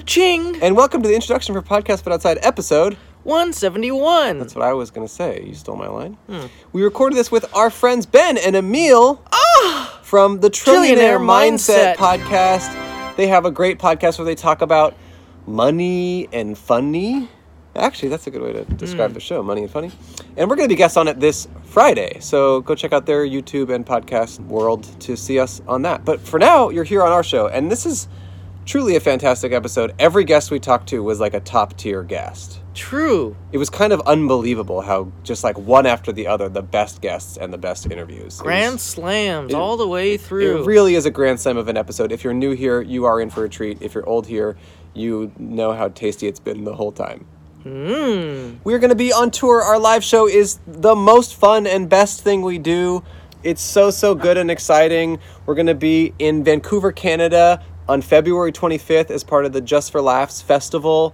Cha-ching! And welcome to the introduction for Podcast But Outside episode. 171. That's what I was going to say. You stole my line. Hmm. We recorded this with our friends Ben and Emil from the Trillionaire, Ah! Trillionaire Mindset. Mindset. Podcast. They have a great podcast where they talk about money and funny. Actually, that's a good way to Hmm. describe the show, Money and Funny. And we're going to be guests on it this Friday. So go check out their YouTube and podcast world to see us on that. But for now, you're here on our show. And this is truly a fantastic episode. Every guest we talked to was like a top tier guest True. it was kind of unbelievable how just like one after the other the best guests and the best interviews It Grand was- slams all the way through. it really is a grand slam of an episode if you're new here you are in for a treat if you're old here you know how tasty it's been the whole time we're going to be on tour our live show is the most fun and best thing we do it's so so good and exciting we're going to be in vancouver canada on february 25th as part of the just for laughs festival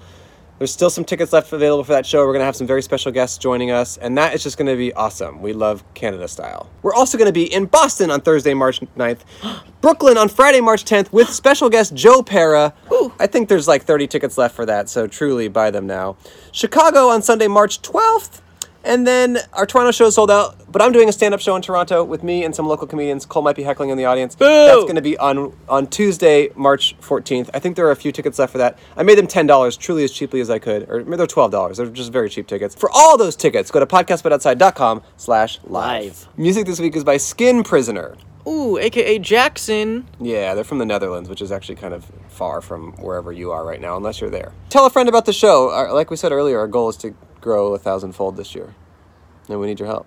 there's still some tickets left available for that show. We're going to have some very special guests joining us, and that is just going to be awesome. We love Canada style. We're also going to be in Boston on Thursday, March 9th, Brooklyn on Friday, March 10th, with special guest Joe Para. I think there's like 30 tickets left for that, so truly buy them now. Chicago on Sunday, March 12th, and then our Toronto show is sold out, but I'm doing a stand up show in Toronto with me and some local comedians. Cole might be heckling in the audience. That's going to be on on Tuesday, March 14th. I think there are a few tickets left for that. I made them $10, truly as cheaply as I could, or maybe they're $12. They're just very cheap tickets. For all those tickets, go to podcastbutoutside.com slash live. Live. Music this week is by Skin Prisoner. Ooh, aka Jackson. Yeah, they're from the Netherlands, which is actually kind of far from wherever you are right now, unless you're there. Tell a friend about the show. Our, like we said earlier, our goal is to grow a thousandfold this year, and we need your help.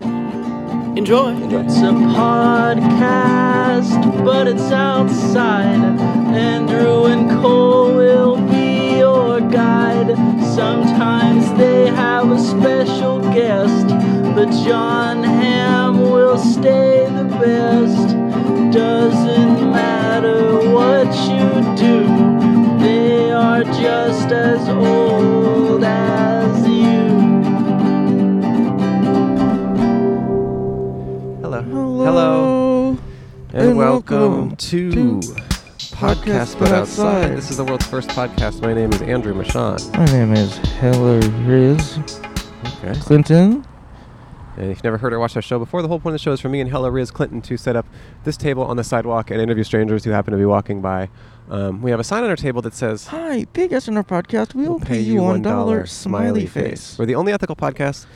Enjoy. Enjoy. It's a podcast, but it's outside. Andrew and Cole will be your guide. Sometimes they have a special guest, but John Ham will stay the best. Doesn't matter what you do, they are just as old as you. Hello. Hello. And, welcome to, Podcast But Outside. This is the world's first podcast. My name is Andrew Machon. My name is Heller Riz Okay. Clinton. And if you've never heard or watched our show before, the whole point of the show is for me and Hella Riz Clinton to set up this table on the sidewalk and interview strangers who happen to be walking by. Um, we have a sign on our table that says, Hi, big guest on our podcast. We'll, pay, you one dollar. Smiley face. We're the only ethical podcast,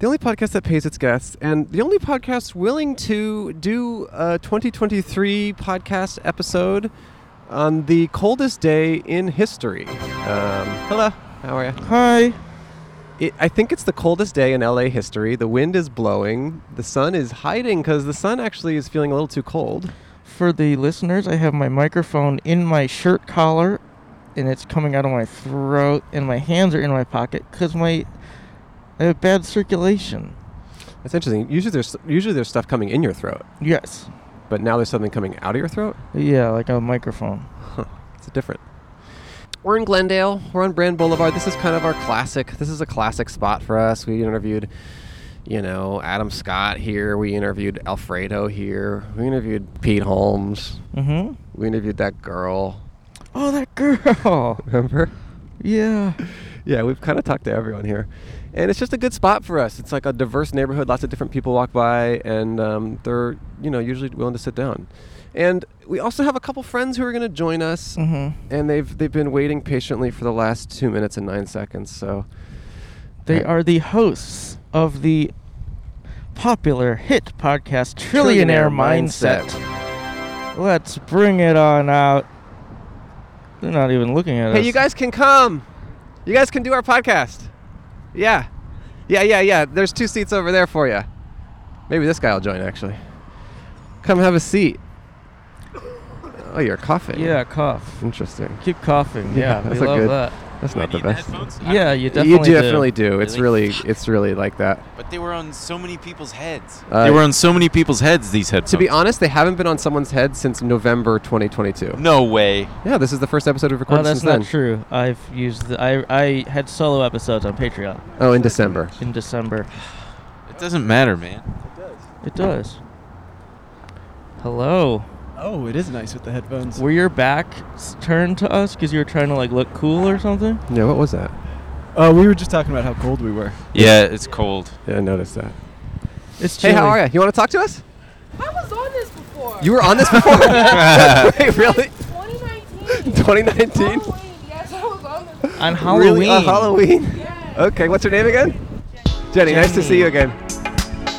the only podcast that pays its guests, and the only podcast willing to do a 2023 podcast episode on the coldest day in history. Um, hello, how are you? Hi. It, I think it's the coldest day in LA history. The wind is blowing. The sun is hiding because the sun actually is feeling a little too cold. For the listeners, I have my microphone in my shirt collar, and it's coming out of my throat, and my hands are in my pocket because my I have bad circulation. That's interesting. Usually there's usually there's stuff coming in your throat, Yes. but now there's something coming out of your throat. Yeah, like a microphone. It's different. We're in Glendale. We're on Brand Boulevard. This is kind of our classic. This is a classic spot for us. We interviewed, you know, Adam Scott here. We interviewed Alfredo here. We interviewed Pete Holmes. Mm-hmm. We interviewed that girl. Oh, that girl. Remember? yeah. Yeah, we've kind of talked to everyone here, and it's just a good spot for us. It's like a diverse neighborhood. Lots of different people walk by, and um, they're you know usually willing to sit down. And we also have a couple friends who are going to join us, Mm-hmm. and they've they've been waiting patiently for the last two minutes and nine seconds. So They are the hosts of the popular hit podcast Trillionaire, Mindset. Let's bring it on out. They're not even looking at us. Hey, you guys can come. You guys can do our podcast. Yeah, yeah, yeah, yeah. There's two seats over there for you. Maybe this guy will join actually. Come have a seat. Oh, you're coughing. Yeah, cough. Interesting. Keep coughing. Yeah, Yeah, that's we a love good- that. That's not the best. Yeah, you definitely you definitely do. It's Really? really, it's really like that. But they were on so many people's heads. Uh, they were on so many people's heads. These headphones. To be honest, they haven't been on someone's head since November 2022. no way. Yeah, this is the first episode we've Oh, recorded that's since not then. true. I've used the, I I had solo episodes on Patreon Oh, in December. in December. It doesn't matter, man. It does. Hello. Oh, it is nice with the headphones. Were your backs turned to us because you were trying to like look cool or something? Yeah, what was that? Uh, we were just talking about how cold we were. Yeah, it's cold. Yeah, I noticed that. It's Hey, chilly. how are you? You want to talk to us? I was on this before. You were on this before? Wait, really? 2019? 2019. Halloween, yes, I was on this. On Halloween. Really? On Oh, Halloween? Yes. Okay, what's your name again? Jenny, nice to see you again.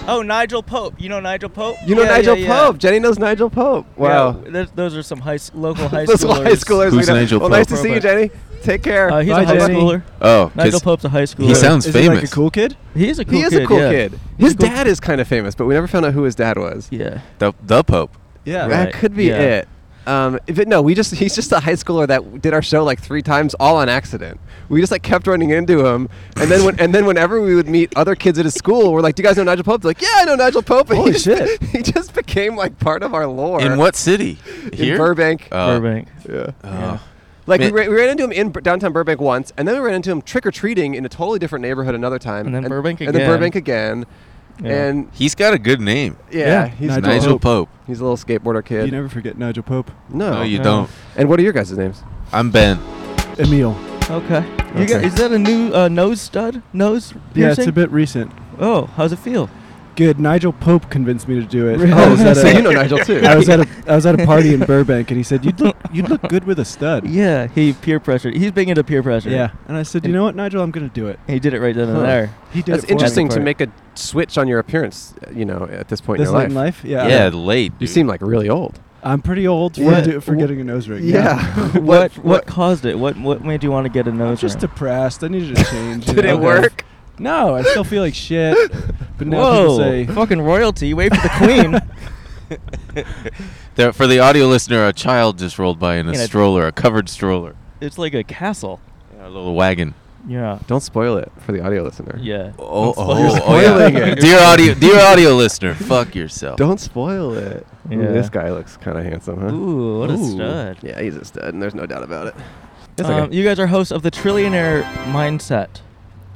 Oh, Nigel Pope. You know Nigel Pope? You know Yeah, Nigel yeah, yeah. Pope. Jenny knows Nigel Pope. Wow. Yeah, th- those are some high s- local high Those schoolers. high schoolers. we Who's know. Nigel Well, nice Pope? to see you, Jenny. Take care. Uh, he's Bye, a high Jenny. schooler. Oh, 'cause Nigel Pope's a high schooler. he sounds Is he famous. like a cool kid? He is a cool he is kid. a cool yeah. kid. He's His a cool dad is kind of famous, but we never found out who his dad was. Yeah. the the Pope. Yeah. That Right, could be yeah. it. Um, but no, we just he's just a high schooler that did our show like three times all on accident. We just like kept running into him, and then when and then whenever we would meet other kids at his school, we're like, "Do you guys know Nigel Pope?" They're like, "Yeah, I know Nigel Pope." And Holy he shit. Just, he just became like part of our lore. In what city? In Here? Burbank. Oh. Burbank. yeah. Oh. Like we Man. ran, we ran into him in Bur- downtown Burbank once, and then we ran into him trick or treating in a totally different neighborhood another time, And then Burbank and then again. Burbank again, Yeah. and He's got a good name. yeah, Yeah, he's Nigel Nigel Pope. he's a little skateboarder kid. You never forget Nigel Pope. no, No, Oh, you No. don't. and what are your guys' names? I'm Ben. Emil. Okay. You got, Okay. is that a new uh, nose stud? Nose piercing? Yeah, it's a bit recent. Oh, how's it feel? Good. Nigel Pope convinced me to do it. Really? I Oh, was at so a- you know Nigel too. I was at a I was at a party in Burbank, and he said, "You'd look you'd look good with a stud." Yeah, he peer pressured. He's big into peer pressure. Yeah. And I said, "You know what, Nigel? I'm gonna do it." He did it right then Huh. and there. He did. That's it for me. interesting to part. make a switch on your appearance. uh, You know, at this point This in your late life, in life, yeah. Yeah, late. you dude. seem like really old. I'm pretty old for, What- do, for wh- getting a nose ring. what? What what, caused it? What what made you want to get a I'm nose just ring? depressed. I needed to change. you Did know? it work? No, I still feel like shit. But now people Whoa! say, Fucking royalty. Wait for the queen. There- for the audio listener, a child just rolled by in a In a- stroller, a covered stroller, it's like a castle. a little wagon. Yeah. Don't spoil it for the audio listener. Yeah. Oh, Don't spoil oh, it. oh, yeah. spoiling it. dear audio, dear audio listener, fuck yourself. Don't spoil it. Ooh, Yeah. this guy looks kind of handsome, huh? Ooh, what a Ooh. stud. Yeah, he's a stud, and there's no doubt about it. That's Um, okay. You guys are hosts of the Trillionaire Mindset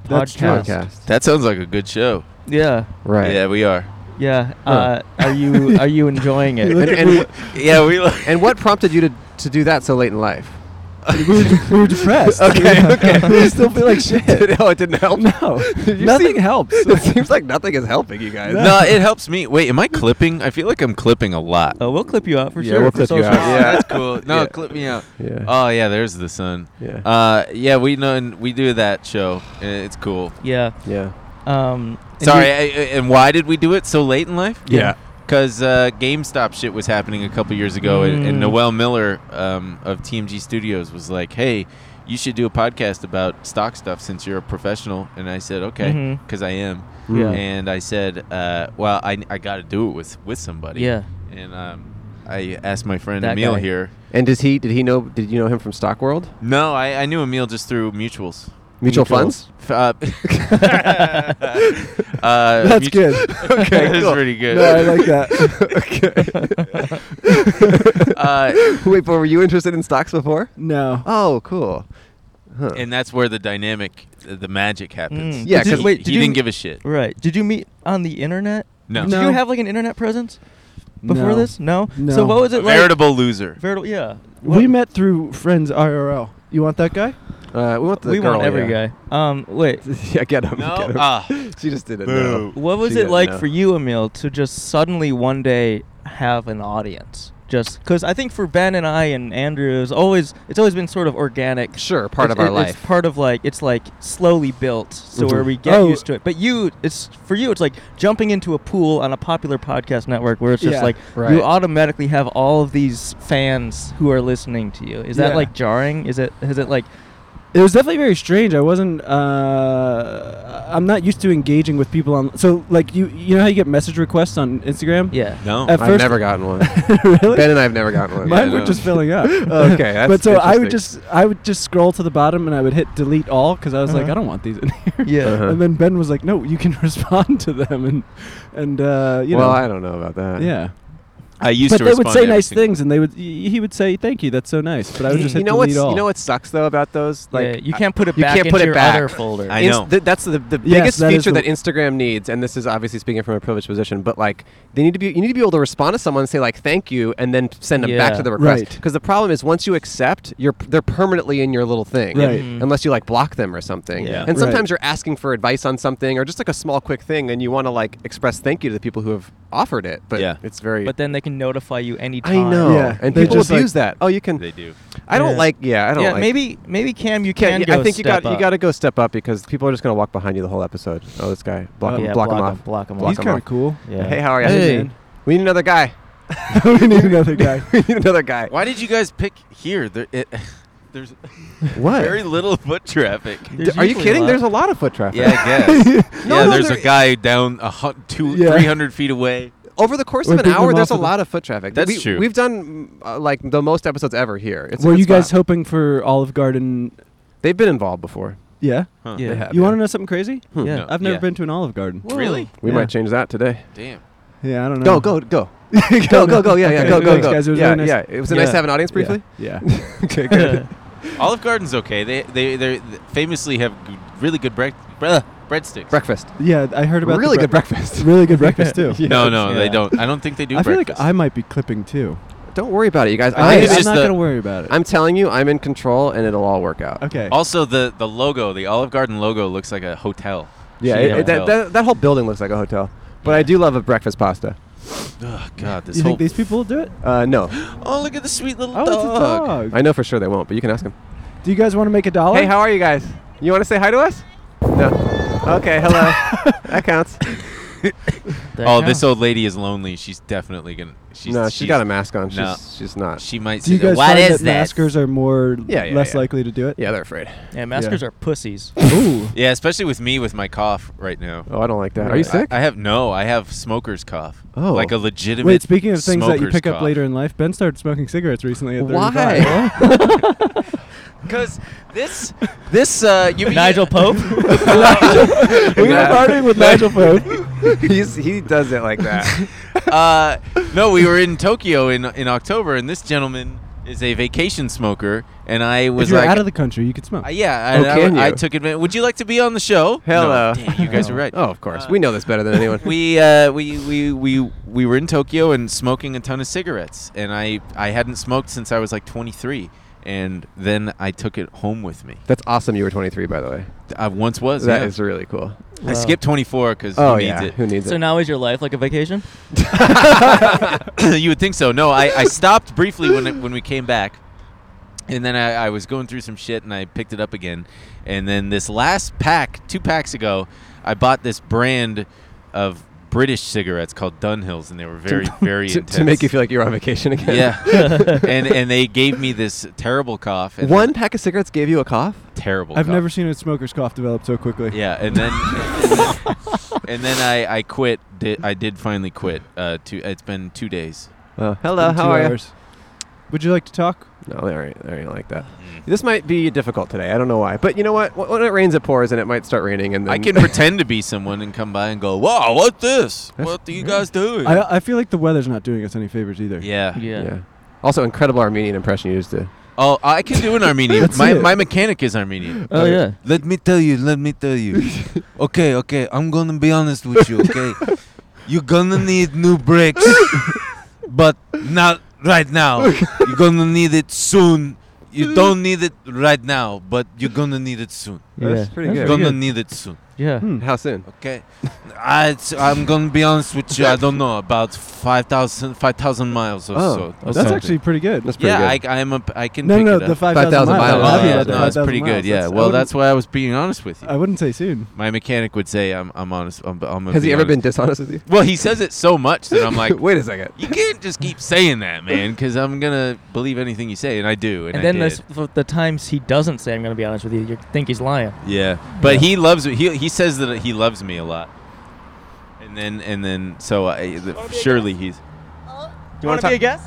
That's true. podcast. Podcast. That sounds like a good show. Yeah, Right. Yeah, we are. yeah. Uh, are you are you enjoying You it? look And, at and, me. wh- Yeah, we. Like, and what prompted you to, to do that so late in life? we were, de- we were depressed. Okay, okay. we still feel like shit. no, it didn't help. No, You nothing see- helps. It seems like nothing is helping you guys. no, it helps me. Wait, am I clipping? I feel like I'm clipping a lot. Uh, we'll clip you out for Yeah, sure. we'll for clip you social- out. Yeah. that's cool. No, Yeah. clip me out. Yeah. uh, Oh yeah, there's the sun. yeah. Uh, yeah, we know and we do that show. and It's cool. Yeah. yeah. Um, and Sorry, you- I, I- and why did we do it so late in life? Yeah. Because uh, GameStop shit was happening a couple years ago, and, and Mm. Noel Miller um, of TMG Studios was like, "Hey, you should do a podcast about stock stuff since you're a professional." And I said, "Okay," Mhm. because I am. Yeah. And I said, uh, "Well, I, I got to do it with with somebody." yeah. And um, I asked my friend That Emil guy. here. And does he? Did he know? Did you know him from Stock World? No, I, I knew Emil just through mutuals. Mutual funds. Mutuals. F- Uh, uh, That's mutu- good. Okay, that's cool. pretty good. No, I like that. okay. Uh, Wait, but were you interested in stocks before? No. Oh, cool. Huh. Uh, and that's where the dynamic, uh, the magic happens. Mm. Yeah, He- 'cause- wait, he did you- didn't give a shit. Right. Did you meet on the internet? No, Did No. you have like an internet presence before No. this? No. No. So what was A it like? veritable loser. Veritable. Yeah. We met through friends IRL. You want that guy? Uh, we want the We girl, want every yeah. guy. Um, wait. yeah, get him. No, Get him. ah, she just didn't boo. know. What was She it didn't like know. for you, Emil, to just suddenly one day have an audience? Just because I think for Ben and I and Andrew, it was always it's always been sort of organic. Sure, part It's- of our it- life. It's part of like it's like slowly built, so where Mhm. we get Oh. used to it. But you, it's for you, it's like jumping into a pool on a popular podcast network where it's just Yeah, like right. you automatically have all of these fans who are listening to you. Is that Yeah. like jarring? Is it has it like It was definitely very strange. I wasn't. Uh, I'm not used to engaging with people on. So like you, you know how you get message requests on Instagram? yeah? No, At I've first- never gotten one. really? ben and I have never gotten one. Mine Yeah, were no. just filling up. Oh, okay, that's but so I would just interesting. I would just scroll to the bottom and I would hit delete all because I was like Uh-huh. I don't want these in here. Yeah. Uh-huh. And then Ben was like, No, you can respond to them and and uh, you well, know I don't know about that. yeah. I used but to they respond would say to every nice single- things, and they would y- he would say thank you. That's so nice. But I would just hit you know delete what's all. you know what sucks though about those like yeah, you can't put it you back can't into put it your back. other folder. I- Inst- know. th- that's the, the Yes, biggest that is feature the- that Instagram needs, and this is obviously speaking from a privileged position, but like they need to be you need to be able to respond to someone and say like thank you and then send them back Yeah. to the request. Right. Because the problem is once you accept, you're p- they're permanently in your little thing. Right. Mhm. Unless you like block them or something. Yeah. And Right. sometimes you're asking for advice on something or just like a small quick thing and you want to like express thank you to the people who have offered it. But Yeah. it's very but then they can notify you anytime. I know. Yeah. And They people just, like- abuse that. Oh you can They do. I don't Yeah. like yeah, I don't yeah, like maybe maybe Cam, you yeah, can. yeah, go I think you step got you up. got to go step up because people are just gonna walk behind you the whole episode. Oh, this guy block Uh, him, yeah, block, him block off, him, block him block He's him kind off. of cool. Yeah. Hey, how are you? Hey, man. We need another guy. we need another guy. we need another guy. Why did you guys pick here? There, it, there's What? very little foot traffic. There's are you usually kidding? lot. There's a lot of foot traffic. Yeah, I guess. No, yeah, no, there's there- a guy down a hun- two, Yeah. three hundred feet away. Over the course We're of an beating hour, them there's a off with lot of foot traffic. That's we, true. We've done mm, uh, like the most episodes ever here. It's a Were good you guys spot. hoping for Olive Garden? They've been involved before. Yeah. Huh. Yeah. They have, You yeah. want to know something crazy? Hmm. Yeah. No. I've never Yeah. been to an Olive Garden. Really? We Yeah. might change that today. Damn. Yeah, I don't know. Go, go, go. go, go, go. Yeah, yeah, Okay, go, go, thanks, go. guys. It was yeah, really nice. yeah. It was nice Yeah. to have an audience briefly. Yeah. okay, good. Olive Garden's okay. They they they famously have g- really good break, bleh, breadsticks. breakfast. Yeah, I heard about the Really good breakfast. breakfast. Really good breakfast too. no, Yeah. no, Yeah. they don't. I don't think they do. I feel breakfast. like I might be clipping too. Don't worry about it, you guys. I, think it's am it's just not the- gonna worry about it. I'm telling you, I'm in control, and it'll all work out. okay. Also, the the logo, the Olive Garden logo, looks like a hotel. Yeah, Shitty it, it- that, hotel. that, that whole building looks like a hotel. But I do love a breakfast pasta. Ugh, God, this you whole. think these people will do it? Uh, no, oh, look at the sweet little Oh, it's a dog. dog. I know for sure they won't, but you can ask them. do you guys want to make a dollar? Hey, how are you guys? You want to say hi to us? No. Okay, hello. that counts. Oh, this old lady is lonely. She's definitely gonna. She's, no, she's she's got a mask on. She's, no. she's not. She might. do you say, guys what find is that this? maskers are more Yeah, yeah, less yeah. likely to do it? Yeah, they're afraid. Yeah, maskers Yeah. are pussies. Ooh. Yeah, especially with me with my cough right now. Oh, I don't like that. Are you I- sick? I, have no. I have smoker's cough. Oh. like a legitimate. Wait, speaking of things that you smoker's pick up cough. later in life, Ben started smoking cigarettes recently at Why? 35. Because this, this, uh, you Nigel Pope. we were Yeah. partying with Nigel Pope. He's, he does it like that. uh, no, we were in Tokyo in in October, and this gentleman is a vacation smoker, and I was If you're like, out of the country, you could smoke. Uh, yeah, Oh, and I, can I you? took advantage. Would you like to be on the show? Hello. No, damn, you guys are right. oh, of course. we know this better than anyone. uh, We uh, we we we we were in Tokyo and smoking a ton of cigarettes, and I I hadn't smoked since I was like 23, and then I took it home with me. That's awesome. You were 23, by the way. I once was. That yeah. is really cool. I skipped 24 because Oh, who yeah. needs Who needs So it? now is your life like a vacation? it? you would think so. No, I, I stopped briefly when it, when we came back, and then I, I was going through some shit and I picked it up again, and then this last pack, two packs ago, I bought this brand of British cigarettes called Dunhills, and they were very very to, intense to make you feel like you're on vacation again. Yeah, and and they gave me this terrible cough. And One pack of cigarettes gave you a cough? terrible. I've cough. never seen a smoker's cough develop so quickly. Yeah, and then and then I I quit. Did, I did finally quit. Uh, two. It's been two days. Oh, hello, In how two are you? hours. Would you like to talk? No, they aren't, they aren't like that. This might be difficult today. I don't know why. But you know what? Wh- When it rains, it pours, and it might start raining. And then I can pretend to be someone and come by and go, "Wow, what this? What do you guys doing?" I, I feel like the weather's not doing us any favors either. yeah. Yeah. yeah. Also, incredible Armenian impression you used to. Oh, I can do an Armenian. That's my it. my mechanic is Armenian. Oh yeah. Let me tell you, let me tell you. Okay, okay, I'm gonna be honest with you, okay? You're gonna need new brakes, but not right now. You're gonna need it soon. You don't need it right now, but you're gonna need it soon. That's Yeah. pretty That's You're good. gonna need it soon, Yeah. Hmm. How soon? okay? I, it's- I'm gonna be honest with you, I don't know, about 5,000 5,000 miles or Oh, so. okay. or That's something. actually pretty good. That's pretty Yeah, good. I, I'm a. I can. no, pick no, it the up. 5,000 5,000 miles. miles. Oh, I'll be yeah, about the no, that. it's 5,000 pretty good. miles. Yeah. That's- I Well, wouldn't- that's why I was being honest with you. I wouldn't say soon. My mechanic would say I'm I'm honest. I'm, I'm a Has he be ever been honest. dishonest with you? Well, he says it so much that I'm like, Wait a second. you can't just keep saying that, man, because I'm gonna believe anything you say, and I do. And, And I then did. this, for the times he doesn't say, I'm going to be honest with you, you think he's lying. yeah. But he loves me. He he says that he loves me a lot. And then and then so I guy. surely he's Uh, You want to talk? guest?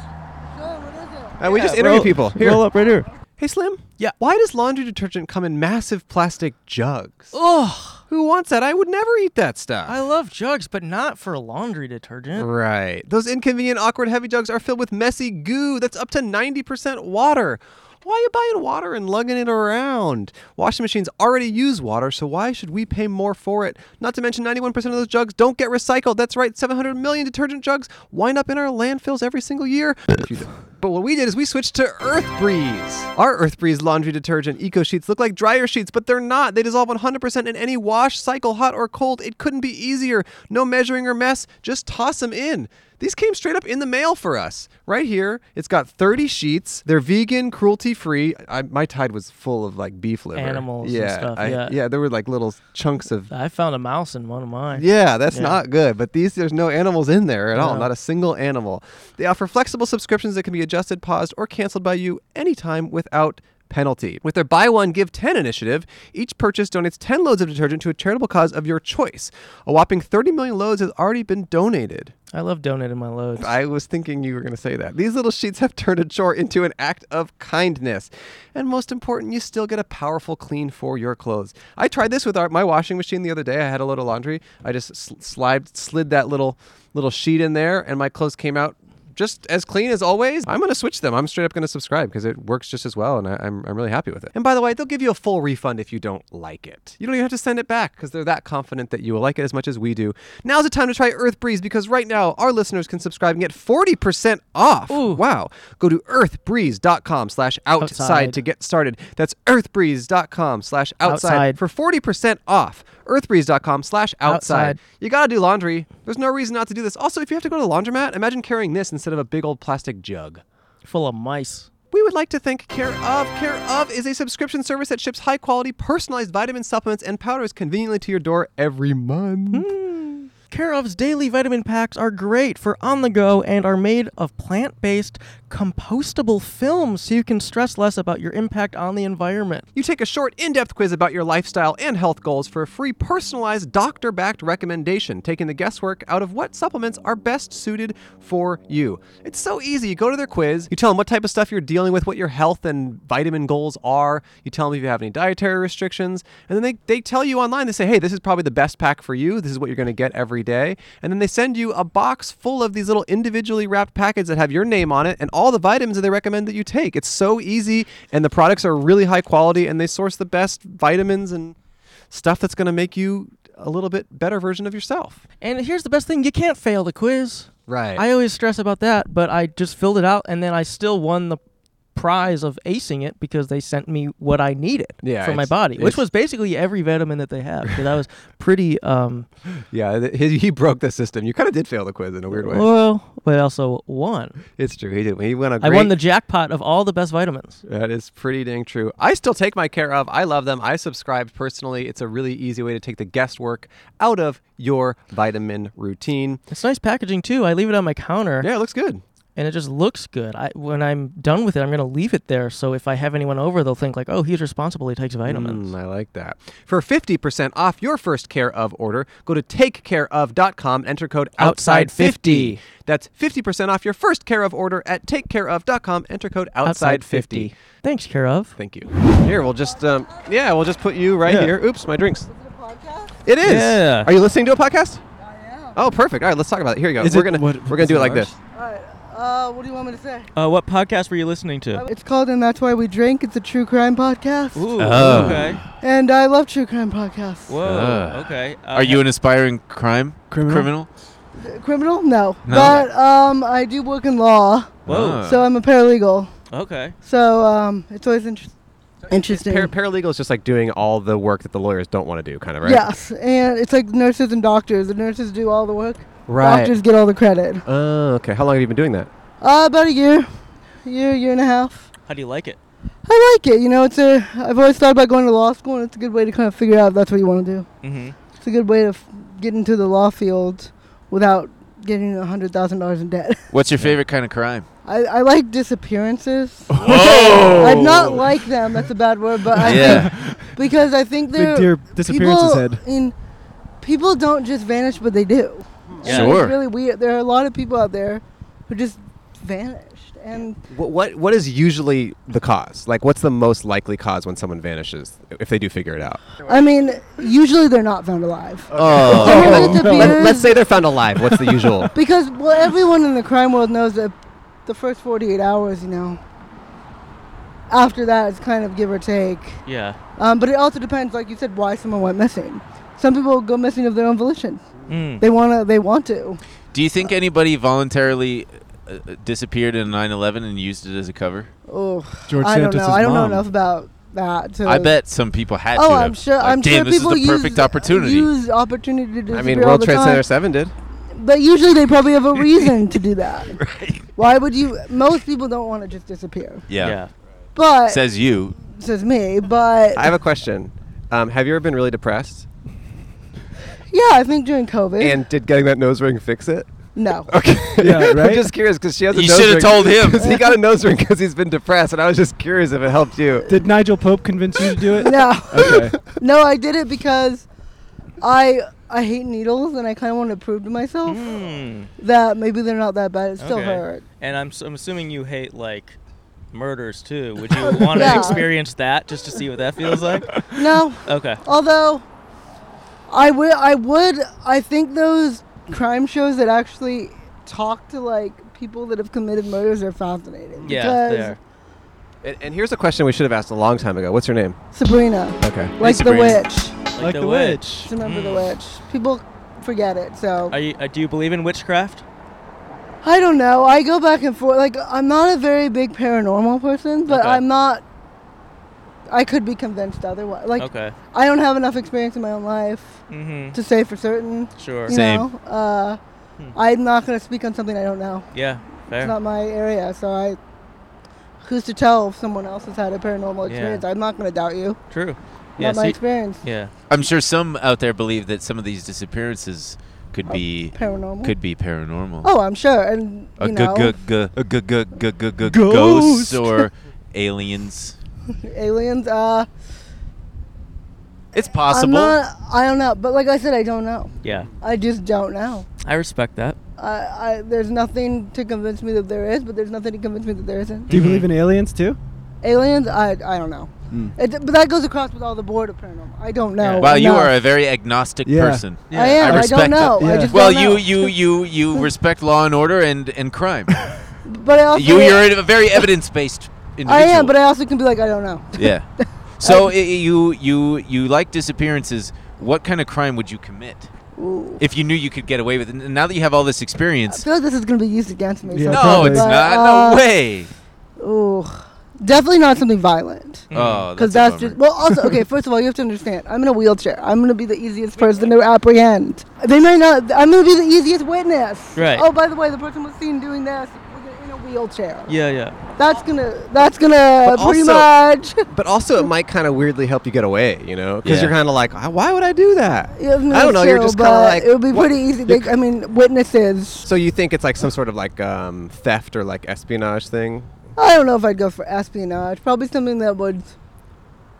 No, what is it? Uh, we just interview people. Here. Roll up right here. Hey, Slim. Yeah. Why does laundry detergent come in massive plastic jugs? Oh, Who wants that? I would never eat that stuff. I love jugs, but not for laundry detergent. Right. Those inconvenient, awkward, heavy jugs are filled with messy goo that's up to 90% water. Why are you buying water and lugging it around? Washing machines already use water, so why should we pay more for it? Not to mention 91% of those jugs don't get recycled. That's right, 700 million detergent jugs wind up in our landfills every single year. If you don't- But what we did is we switched to Earth Breeze. Our Earth Breeze laundry detergent eco sheets look like dryer sheets, but they're not. They dissolve 100% in any wash, cycle, hot or cold. It couldn't be easier. No measuring or mess. Just toss them in. These came straight up in the mail for us. Right here, it's got 30 sheets. They're vegan, cruelty free. I, my tide was full of like beef liver. Animals and yeah, stuff, I- yeah. yeah, there were like little chunks of I found a mouse in one of mine. yeah, that's Yeah. not good. But these, there's no animals in there at all. No. Not a single animal. They offer flexible subscriptions that can be adjusted, paused, or canceled by you anytime without penalty. With their buy one, give 10 initiative, each purchase donates 10 loads of detergent to a charitable cause of your choice. A whopping 30 million loads has already been donated. I love donating my loads. I was thinking you were going to say that. These little sheets have turned a chore into an act of kindness. And most important, you still get a powerful clean for your clothes. I tried this with our, my washing machine the other day. I had a load of laundry. I just sl- slid, slid that little little sheet in there, and my clothes came out just as clean as always. I'm going to switch them. I'm straight up going to subscribe because it works just as well, and I, I'm, I'm really happy with it. And by the way, they'll give you a full refund if you don't like it. You don't even have to send it back because they're that confident that you will like it as much as we do. Now's the time to try Earth Breeze because right now our listeners can subscribe and get 40% off. Wow. Go to earthbreeze.com slash outside Outside. to get started. That's earthbreeze.com slash outside Outside. for 40% off. earthbreeze.com slash outside. Outside. You gotta do laundry. There's no reason not to do this. Also, if you have to go to the laundromat, imagine carrying this instead of a big old plastic jug. Full of mice. We would like to thank Care of. Care of is a subscription service that ships high quality, personalized vitamin supplements and powders conveniently to your door every month. Care of's daily vitamin packs are great for on the go and are made of plant based compostable film so you can stress less about your impact on the environment. You take a short, in depth quiz about your lifestyle and health goals for a free, personalized, doctor backed recommendation, taking the guesswork out of what supplements are best suited for you. It's so easy. You go to their quiz, you tell them what type of stuff you're dealing with, what your health and vitamin goals are, you tell them if you have any dietary restrictions, and then they, they tell you online, they say, hey, this is probably the best pack for you, this is what you're going to get every day. And then they send you a box full of these little individually wrapped packets that have your name on it and all the vitamins that they recommend that you take. It's so easy, and the products are really high quality, and they source the best vitamins and stuff that's going to make you a little bit better version of yourself. And here's the best thing you can't fail the quiz. Right. I always stress about that, but I just filled it out and then I still won the prize of acing it because they sent me what I needed Yeah, for my it's- body, it's- which was basically every vitamin that they have. Because I was pretty, um, yeah, th- he, he broke the system. You kind of did fail the quiz in a weird way. well, but also won. it's true. He did. He went a I great won the jackpot of all the best vitamins. That is pretty dang true. I still take my care of. I love them. I subscribe personally. It's a really easy way to take the guesswork out of your vitamin routine. It's nice packaging too. I leave it on my counter. Yeah, it looks good. and it just looks good. I when I'm done with it, I'm gonna leave it there. So if I have anyone over, they'll think like, oh, he's responsible. He takes vitamins. Mm, I like that. For 50% off your first care of order, go to takecareof.com, enter code outside50. Outside50. That's 50% off your first care of order at takecareof.com, enter code outside50. Thanks, care of. Thank you. Here, we'll just, um, yeah, we'll just put you right Yeah. here. Oops, my drinks. It is. Yeah. Are you listening to a podcast? Oh, perfect. All right, let's talk about it. Here you go. Is we're it- gonna what- we're gonna is do it it like ours? this. Alright, uh, what do you want me to say? Uh, what podcast were you listening to? It's called And That's Why We Drink. It's a true crime podcast. Ooh, uh. Oh. okay. And I love true crime podcasts. Whoa, Uh. okay. Uh, Are you an aspiring crime Criminal? Criminal? No. No. But um, I do work in law, Whoa. Ah. so I'm a paralegal. Okay. So um, it's always inter- interesting. Par- paralegal is just like doing all the work that the lawyers don't want to do, kind of, right? Yes, and it's like nurses and doctors. The nurses do all the work. Right. Doctors get all the credit. Oh, okay. How long have you been doing that? Uh, about a year, year, year and a half. How do you like it? I like it. You know, it's a. I've always thought about going to law school, and it's a good way to kind of figure out if that's what you want to do. Mm-hmm. It's a good way to f- get into the law field without getting a hundred thousand dollars in debt. What's your favorite kind of crime? I, I like disappearances. I not like them. That's a bad word, but I think because I think Big they're deer disappearance people his head. in people don't just vanish, but they do. Yeah. And Sure. It's really weird. There are a lot of people out there who just vanished, and What, what what is usually the cause? Like, what's the most likely cause when someone vanishes if they do figure it out? I mean, usually they're not found alive. Oh, Someone with the Let, beard- let's say they're found alive. What's the usual? Because well, everyone in the crime world knows that the first 48 hours, you know, after that it's kind of give or take. Yeah. Um, but it also depends, like you said, why someone went missing. Some people go missing of their own volition. Mm. They wanna, they want to. Do you think anybody voluntarily uh, uh, disappeared in 9/11 and used it as a cover? Oh, George I don't know. Santos's I don't know mom. enough about that. To I bet some people had Oh, to. I'm have, sure. like, I'm Damn, sure this is people the perfect use, opportunity. Use opportunity to disappear I mean, all World the Trade time. Center Seven did. But usually they probably have a reason to do that. Why would you? Most people don't want to just disappear. yeah. Yeah. But says, Says you. me. But I have a question. Um, have you ever been really depressed? yeah, I think during COVID. And did getting that nose ring fix it? no. Okay. Yeah, I'm right? just curious because she has a You nose shoulda ring. told him. 'Cause he got a nose ring because he's been depressed, and I was just curious if it helped you. Did Nigel Pope convince you to do it? No. Okay. No, I did it because I I hate needles and I kind of want to prove to myself Hmm. Mm. that maybe they're not that bad. It still Okay. hurt. And I'm, s- I'm assuming you hate like murders too. Would you want to Yeah. experience that just to see what that feels like? No. Okay. Although I would I would I think those crime shows that actually talk to like people that have committed murders are fascinating. Yeah. because There. And, and here's a question we should have asked a long time ago. What's her name? Sabrina, Okay. like Sabrina. the witch. Like, Like the Just witch. Remember the Hmm. Mm. witch. People forget it. So Are you, uh, do you believe in witchcraft? I don't know. I go back and forth. Like I'm not a very big paranormal person, but Okay. I'm not. I could be convinced otherwise. Like okay. I don't have enough experience in my own life Mm-hmm. to say for certain. Sure. You Same. know, uh, Hmm. I'm not going to speak on something I don't know. Yeah. It's Fair. not my area, so I. Who's to tell if someone else has had a paranormal Yeah. experience? I'm not going to doubt you. True. Yeah. Not my see- experience. yeah. I'm sure some out there believe that some of these disappearances could be Paranormal. could Oh, be paranormal. Oh, I'm sure, and a you g- know, g- g- a g- g- g- g- g- ghosts or aliens. aliens. Uh, It's I'm possible. not. I don't know, but like I said, I don't know. Yeah. I just don't know. I respect that. I, I there's nothing to convince me that there is, but there's nothing to convince me that there isn't. Do you believe in aliens too? Aliens, I I don't know. Mm. It, but that goes across with all the board of paranormal. I don't know. Yeah. Hmm. Wow, you enough. are a very agnostic Yeah. person. Yeah. I am. I I, respect don't know. that. I Yeah. just Well, don't know. you you you you respect law and order and and crime. But I also you you're a very evidence based individual. I am, but I also can be like I don't know. yeah. So i i- you you you like disappearances. What kind of crime would you commit Ooh. if you knew you could get away with it? And now that you have all this I experience, feel like this is going to be used against me. Yeah, no, probably. it's But, not. uh, no way. so- Ooh, definitely not something violent. Oh, Because that's, that's, a just bummer. well. Also, okay. First of all, you have to understand. I'm in a wheelchair. I'm gonna be the easiest person to apprehend. They may not. I'm gonna be the easiest witness. Right. Oh, by the way, the person was seen doing this in a wheelchair. Yeah. Yeah. That's gonna. That's gonna But pretty also- much. But also, it might kind of weirdly help you get away, you know? Because Yeah. you're kind of like, "Ah, why would I do that? I I don't know. You're just kind of like. it would be what- pretty easy. They, I mean, witnesses. So you think it's like some sort of like um, theft or like espionage thing? I don't know if I'd go for espionage. Probably something that would,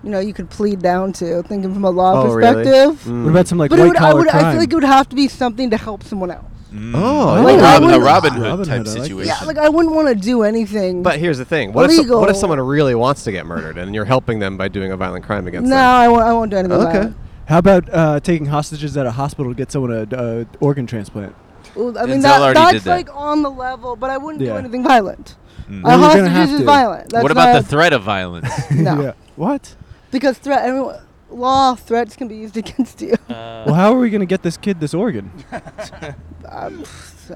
you know, you could plead down to, thinking from a law Oh, really? perspective. Mm. What about some like but it white would, I collar would. crime? I feel like it would have to be something to help someone else. Mm. Oh, Like, a I Robin, a wouldn't- Robin Hood Robin type Hood, I like that. situation. Yeah, like I wouldn't want to do anything. But here's the thing: what if, some- what if Illegal. someone really wants to get murdered and you're helping them by doing a violent crime against no, them? I won't. I won't do anything. Okay. violent. How about uh, taking hostages at a hospital to get someone a uh, organ transplant? Ooh, I mean, Denzel that, already that's did that. like on the level, but I wouldn't do Yeah. anything violent. Mm. A Well, you're gonna have hostages is to. violent. That's what about the not- threat of violence? No. yeah. What? because threat. Everyone, law threats can be used against you. Uh, Well, how are we gonna get this kid this organ? Um,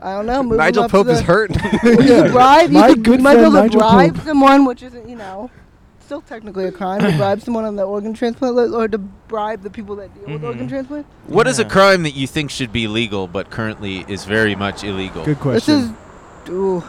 I don't know. Move them Nigel up to Pope is the- hurt. You could bribe. You, My could, good you might be friend able to Nigel bribe Pope. someone, which isn't, you know, still technically a crime to bribe someone on the organ transplant li- or to bribe the people that deal with Mhm. Mm-hmm. organ transplant. What is a Yeah. crime that you think should be legal but currently is very much illegal? Good question. This is. Ooh.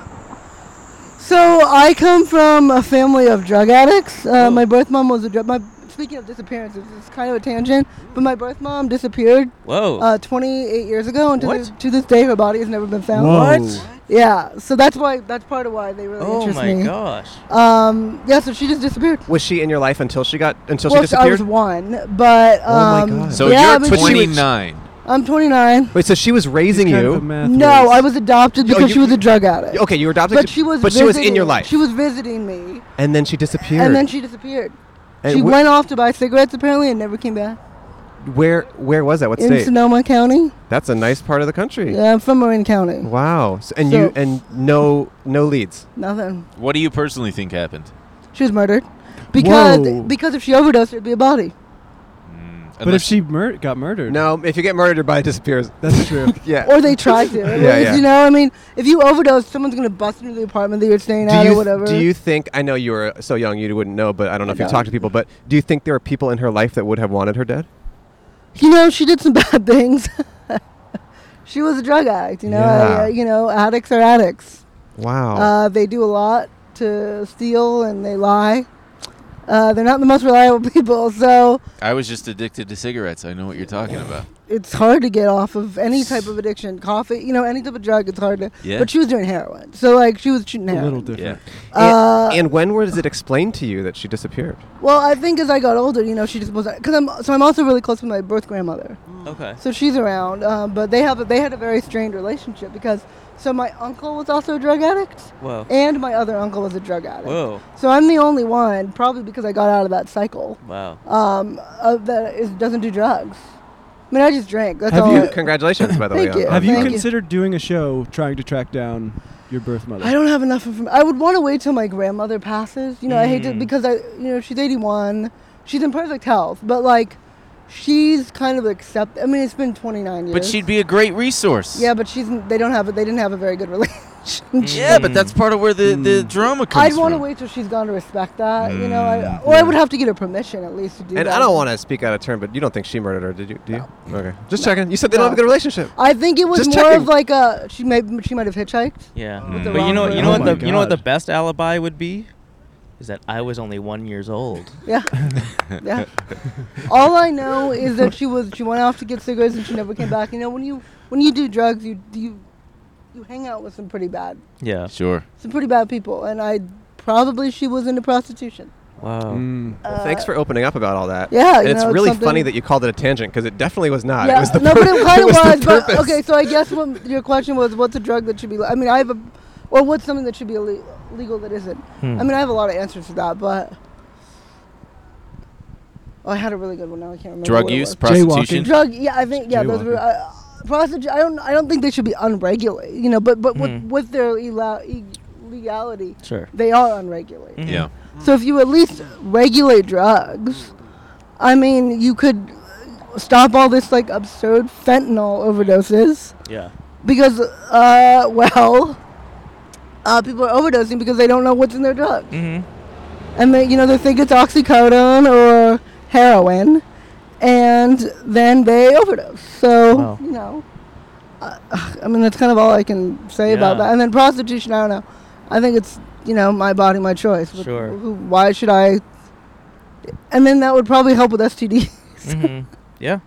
So I come from a family of drug addicts. Oh. Uh, my birth mom was a drug. My speaking of disappearances, it's kind of a tangent, but my birth mom disappeared Mm. whoa. uh, 28 years ago, and to, What? this, to this day, her body has never been found. Whoa. Yeah. So that's why. That's part of why they really oh interest my me. gosh. Um. Yeah. So she just disappeared. was she in your life until she got until well, she I was disappeared? one, but Oh my um, God. So yeah, I you're mean, she was- 29. I'm 29. Wait, so she was raising you. No, I was adopted Yo, because you- she was a drug addict. Okay, you were adopted, But she was. but she was in your visiting- life, She was visiting me, and then she disappeared. and then she disappeared. And she wh- went off to buy cigarettes apparently and never came back. Where where was that? What in state? Sonoma County. That's a nice part of the country. Yeah, I'm from Marin County. Wow. So, and So- you and no no leads. Nothing. What do you personally think happened? She was murdered because Whoa. because if she overdosed, there'd be a body. But if she mur- got murdered, No, if you get murdered, your body disappears. that's true. Yeah. Or they tried to. Yeah, yeah. You know, I mean, if you overdose, someone's gonna bust into the apartment that you're staying do at you or whatever. do you think I know you were so young you wouldn't know, but I don't know I if you don't. talked to people, but do you think there are people in her life that would have wanted her dead? You know, she did some bad things. she was a drug addict. You know, Yeah. uh, you know, addicts are addicts. Wow. Uh, they do a lot to steal and they lie. Uh, they're not the most reliable people, so I was just addicted to cigarettes. I know what you're talking about. it's hard to get off of any type of addiction. Coffee, you know, any type of drug, it's hard to. Yeah. But she was doing heroin, so like she was shooting A heroin. little different. Yeah. Uh, and when was it explained to you that she disappeared? well, I think as I got older, you know, she just was because I'm so I'm also really close with my birth grandmother, Okay. so she's around. Um, but they have a, they had a very strained relationship because so my uncle was also a drug addict, Whoa. and my other uncle was a drug addict. Whoa. So I'm the only one, probably because I got out of that cycle Wow. um, of that is, doesn't do drugs. I mean, I just drank. That's Have all. you- I- Congratulations, by the Thank way. you. on- Have you Thank you. considered doing a show trying to track down your birth mother? I don't have enough information. I would want to wait till my grandmother passes. You know, I hate to Mm. because I, you know, she's 81. She's in perfect health, but like, she's kind of accept. I mean, it's been 29 years. But she'd be a great resource. Yeah, but she's. They don't have. They didn't have a very good relationship. Mm. Yeah, but that's part of where the, the drama comes I'd want to from. Mm, wait till she's gone to respect that. You know, I, or I would have to get her permission at least to do And that. I don't want to speak out of turn, but you don't think she murdered her, did you? Do you? Okay. Just checking. You said they don't No. have a good relationship. I think it was Just more checking. of like a she may she might have hitchhiked. Yeah. With the But you wrong know word. you know Oh what my the you know what the God. best alibi would be? Is that I was only one years old. Yeah, yeah. All I know is that she was she went off to get cigarettes and she never came back. You know, when you when you do drugs, you you you hang out with some pretty bad Yeah. Sure. some pretty bad people, and I probably she was into prostitution. Wow. Oh. Mm. Well, thanks for opening up about all that. Uh, yeah, and you it's know, it's really something- funny that you called it a tangent because it definitely was not. It was the no, but it kind of was the was. But purpose. okay, so I guess what your question was, what's a drug that should be? le- I mean, I have a, or what's something that should be ille- legal that isn't? Hmm. I mean, I have a lot of answers to that, but. Oh, I had a really good one. Now I can't remember. Drug what it use, was. prostitution. drug yeah i think yeah those were Jaywalking. uh, prostitution i don't i don't think they should be unregulated you know but but with, Mhm. with their illa- illegality Sure. they are unregulated Mhm. Yeah. so if you at least regulate drugs i mean you could stop all this like absurd fentanyl overdoses Yeah. because uh well uh, people are overdosing because they don't know what's in their drug Mm-hmm. and they you know they think it's oxycodone or heroin and then they overdose so Wow. you know uh, i mean that's kind of all i can say about Yeah. that and then prostitution i don't know i think it's you know my body my choice Wh- Sure. who, why should i and then that would probably help with std Mm-hmm. Yeah.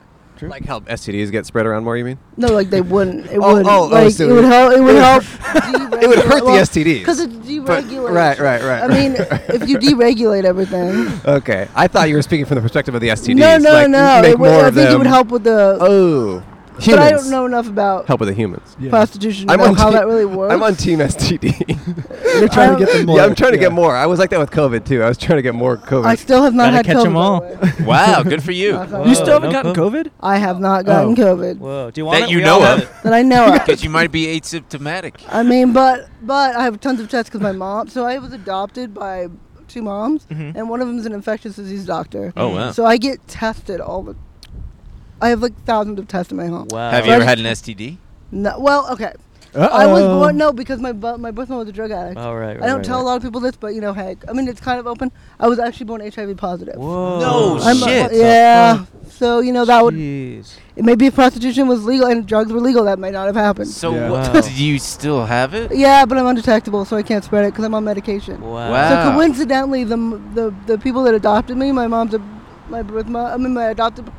like how STDs get spread around more. You mean? no like they wouldn't it Oh, wouldn't oh, oh, like so it would it- help it would help Uh, It would hurt the STDs. because it's But- deregulated right, right, right. i mean if you deregulate everything okay, I thought you were speaking from the perspective of the STDs. No, no, like, no. Make it would, more I of think them. it would help with the. Oh, humans. but I don't know enough about Help with the humans. Yeah. prostitution to I'm know on how te- that really works. I'm on team STD. You're trying to don't- get them more. yeah, I'm trying to yeah. get more. I was like that with COVID too. I was trying to get more COVID. I still have not Gotta had catch COVID. 'em all. by the way. Wow, good for you. Knock on You wood. Uh, still haven't no gotten COVID? I have not gotten Oh. COVID Whoa. Do you want That it? you We know all have of. Uh, it. that I know of. Because you might be asymptomatic. I mean, but but I have tons of tests because my mom. So I was adopted by two moms, Mm-hmm. Mhm. and one of them's an infectious disease doctor. Oh, wow. So I get tested all the. I have like thousands of tests in my home. Wow. Have you ever had an STD? No, well, okay. I was Oh. Uh-oh. born no because my bu- my birth mom was a drug addict. Oh, All right. I don't tell a lot of people this, but you know, hey, I mean, it's kind of open. I was actually born HIV positive. Whoa. No I'm- shit. yeah. So you know that would Jeez. maybe if prostitution was legal and drugs were legal, that might not have happened. So Yeah. what, Wow. do you still have it? yeah, but I'm undetectable, so I can't spread it because I'm on medication. Wow. So Wow. coincidentally, the, m- the the people that adopted me, my mom's a, my birth mom, I mean my adopted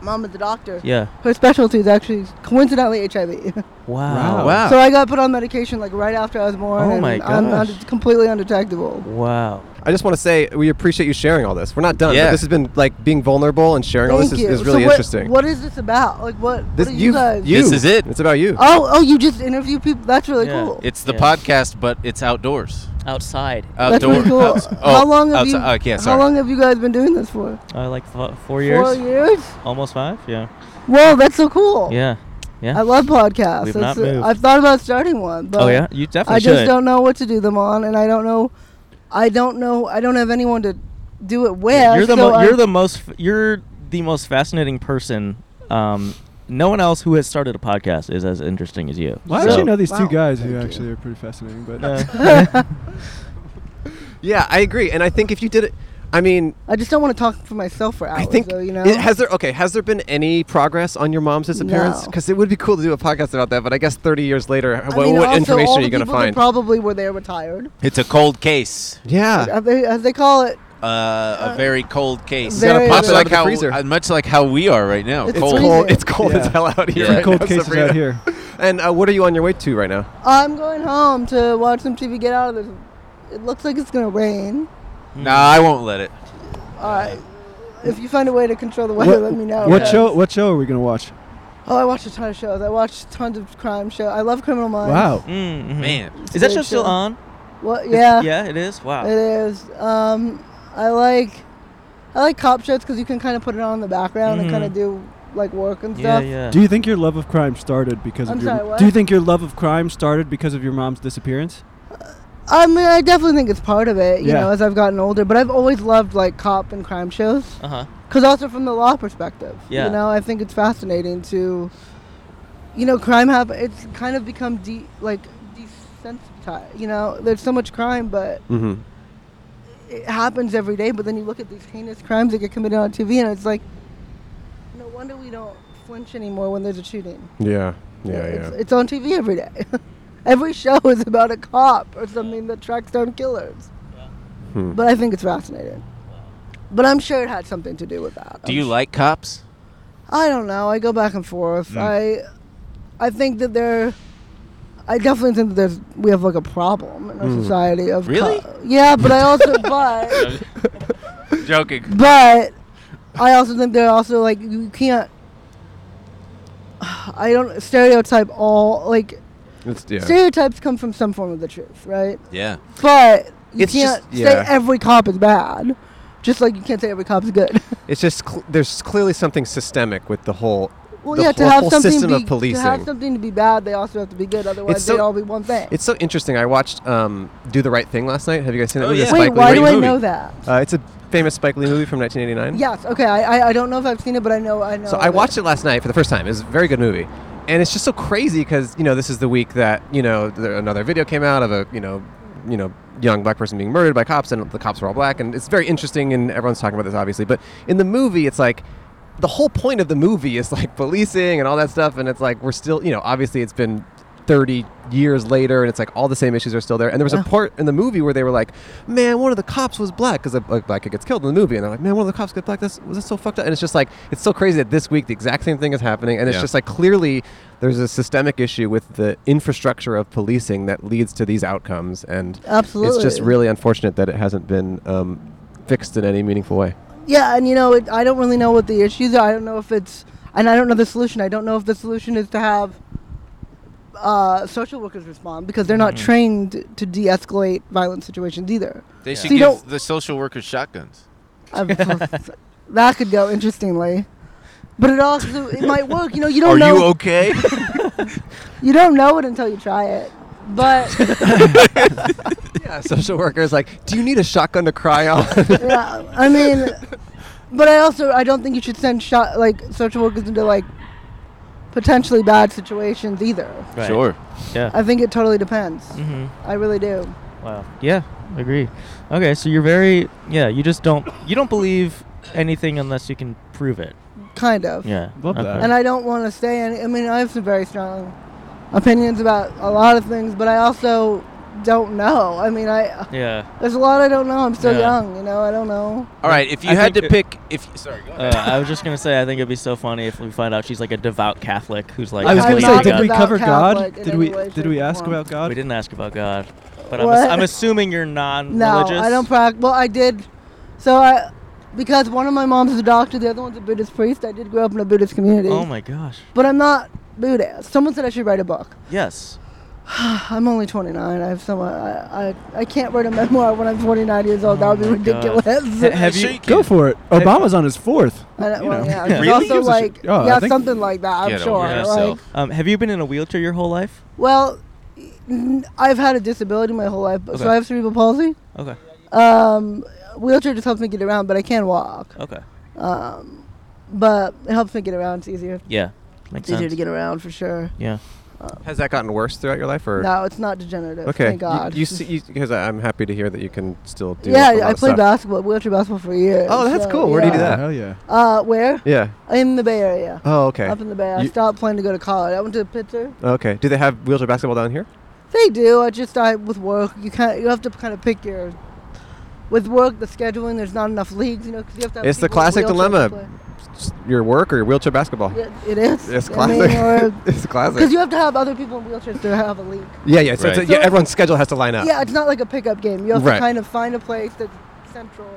mom is a doctor. Yeah. Her specialty is actually coincidentally HIV. Wow. Wow. so I got put on medication like right after I was born, Oh and my I'm gosh. unde- completely undetectable. Wow. I just want to say we appreciate you sharing all this. We're not done. but Yeah. this has been like being vulnerable and sharing all Thank this you. is, is really so what, interesting. What is this about? Like what? what this are you you, guys? you. This is it. It's about you. oh, oh, you just interview people. That's really Yeah. cool. It's the Yeah. podcast, but it's outdoors. outside. That's Outdoor. really cool. outs- oh, how long have outside- you? okay, how sorry. long have you guys been doing this for? Uh, like fo- four years, Four years. almost five. Yeah, Whoa, that's so cool. yeah, yeah. I love podcasts. We've not It's- moved. I've thought about starting one, but oh yeah, you definitely I should. just don't know what to do them on, and I don't know, I don't know, I don't have anyone to do it with. you're the so mo- I- you're the most f- you're the most fascinating person. Um, no one else who has started a podcast is as interesting as you. Well, I So- actually know these Wow. two guys Thank who you. actually are pretty fascinating, but Uh, Yeah, I agree. And I think if you did it, I mean, I just don't want to talk for myself for hours. I think though, you know. it- has there okay has there been any progress on your mom's disappearance? No. Because it would be cool to do a podcast about that. But I guess 30 years later, I what, mean, what also, information all are you the going to people that find? Probably were there retired. It's a cold case. yeah, As, they, as they call it, Uh, a very cold case. Gotta Very pop much it out like of the how freezer. uh, much like how we are right now. It's it's freezing. cold. It's cold as Yeah. hell out here. Pretty right cold now, cases Sabrina. out here. And uh, what are you on your way to right now? I'm going home to watch some TV. Get out of this. It looks like it's gonna rain. Nah, I won't let it. All right. If you find a way to control the What, weather, let me know. what Yeah. show? What show are we gonna watch? Oh, I watch a ton of shows. I watch tons of crime shows. I love Criminal Minds. Wow. mm, mhm. Man, It's a is that great show still show. on? What? Is- Yeah. yeah, it is. Wow. It is. Um, I like I like cop shows because you can kind of put it on in the background Mhm. and kind of do like work and yeah, stuff. yeah. Do you think your love of crime started because I'm of your? sorry, what? Do you think your love of crime started because of your mom's disappearance? I mean, I definitely think it's part of it, you Yeah. know, as I've gotten older. But I've always loved like cop and crime shows uh huh. because also from the law perspective, Yeah. you know, I think it's fascinating to, you know, crime have it's kind of become de- like desensitized. You know, there's so much crime, but Mm-hmm. it happens every day, but then you look at these heinous crimes that get committed on TV, and it's like, no wonder we don't flinch anymore when there's a shooting. Yeah, It's, it's on TV every day. every show is about a cop or something that tracks down killers. Hmm. But I think it's fascinating. But I'm sure it had something to do with that. do I'm you su- like cops? I don't know. I go back and forth. Mm. I, I think that there, I definitely think that there's we have like a problem in our Mm. society of Really? co- yeah, but I also but. Joking. But I also think they're also like you can't. I don't stereotype all like It's, yeah. stereotypes come from some form of the truth, right? Yeah. But you It's can't just- yeah. say every cop is bad, just like you can't say every cop is good. It's just cl- there's clearly something systemic with the whole. well, The yeah, to whole- have whole something system be, of to have policing. something to be bad, they also have to be good. Otherwise, so- they'd all be one thing. It's so interesting. I watched um, Do the Right Thing last night. Have you guys seen that Oh, movie? yeah. The Spike Wait, Lee why movie? do great I movie. know that? Uh, it's a famous Spike Lee movie from 1989. yes, okay. I, I I don't know if I've seen it, but I know I know. So of I watched it last night for the first time. It was a very good movie, and it's just so crazy because you know this is the week that you know th another video came out of a you know you know young black person being murdered by cops, and the cops were all black, and it's very interesting, and everyone's talking about this obviously. But in the movie, it's like the whole point of the movie is like policing and all that stuff, and it's like we're still you know obviously it's been. 30 years later and it's like all the same issues are still there and there was a part in the movie where they were like man one of the cops was black because a, a black kid gets killed in the movie and they're like man one of the cops got black this was this so fucked up and it's just like it's so crazy that this week the exact same thing is happening and it's Yeah. just like clearly there's a systemic issue with the infrastructure of policing that leads to these outcomes and Absolutely. it's just really unfortunate that it hasn't been um, fixed in any meaningful way Yeah, and you know, it, I don't really know what the issues are. I don't know if it's, and I don't know the solution. I don't know if the solution is to have uh, social workers respond because they're Mm-hmm. not trained to de-escalate violent situations either. They should So you give don't- the social workers shotguns. I've- that could go interestingly, but it also it might work. You know, you don't Are know you okay? you don't know it until you try it. But yeah social workers like do you need a shotgun to cry on yeah, I mean, but I also I don't think you should send shot like social workers into like potentially bad situations either. Right. Sure. I think it totally depends. hmm I really do. Wow. Yeah, agree. Okay, so you're very yeah. You just don't you don't believe anything unless you can prove it. kind of. Yeah. Love okay. that. And I don't want to stay. Any, I mean, I have some very strong opinions about a lot of things, but I also don't know. I mean, I yeah. there's a lot I don't know. I'm still Yeah. young, you know. I don't know. All right. If you I had to think pick, if sorry, go Uh, ahead. I was just gonna say I think it'd be so funny if we find out she's like a devout Catholic who's like. I was I'm gonna believing say, not did God. we about cover Catholic God? in Did any we way, did shape, we or ask form. about God? We didn't ask about God. But I'm, What? ass- I'm assuming you're non-religious. Oh No, I don't practice. Well, I did. So I, because one of my moms is a doctor, the other one's a Buddhist priest. I did grow up in a Buddhist community. Oh my gosh. But I'm not Buddhist. Someone said I should write a book. Yes. I'm only 29. I have so much. I, I, I can't write a memoir when I'm 29 years old. that would be Oh my God. ridiculous. Ha- have Sure you? you Go can. for it. Obama's on his fourth. I don't, well, know. yeah, it's Really? also Gives a like shit. Oh, I yeah, think- something like that. I'm Get over sure. right? yourself. Um, have you been in a wheelchair your whole life? Well, n- I've had a disability my whole life, but so Okay. I have cerebral palsy. Okay. Um, wheelchair just helps me get around, but I can walk. Okay. Um, but it helps me get around. It's easier. Yeah. Makes It's easier sense. to get around for sure. yeah. Has that gotten worse throughout your life, or No, it's not degenerative. okay? Thank God. You, you see, because I'm happy to hear that you can still do. yeah, a lot I of played stuff. basketball, wheelchair basketball for years. Oh, that's so, cool. Where do you do yeah. that? Hell yeah. Uh, where? Yeah. In the Bay Area. Oh, okay. Up in the Bay. I You- stopped playing to go to college. I went to Pittsburgh. Okay. Do they have wheelchair basketball down here? They do. I just I with work, you kind you have to kind of pick your. With work, the scheduling, there's not enough leagues, you know, 'cause you have to. Have It's the people with classic wheelchairs to dilemma. S- Your work or your wheelchair basketball? play. Yeah, it is. It's I mean, classic. or- it's classic. Because you have to have other people in wheelchairs to have a league. yeah, yeah. So it's a- Right. yeah, everyone's schedule has to line up. Yeah, it's not like a pickup game. You have Right. to kind of find a place that's central.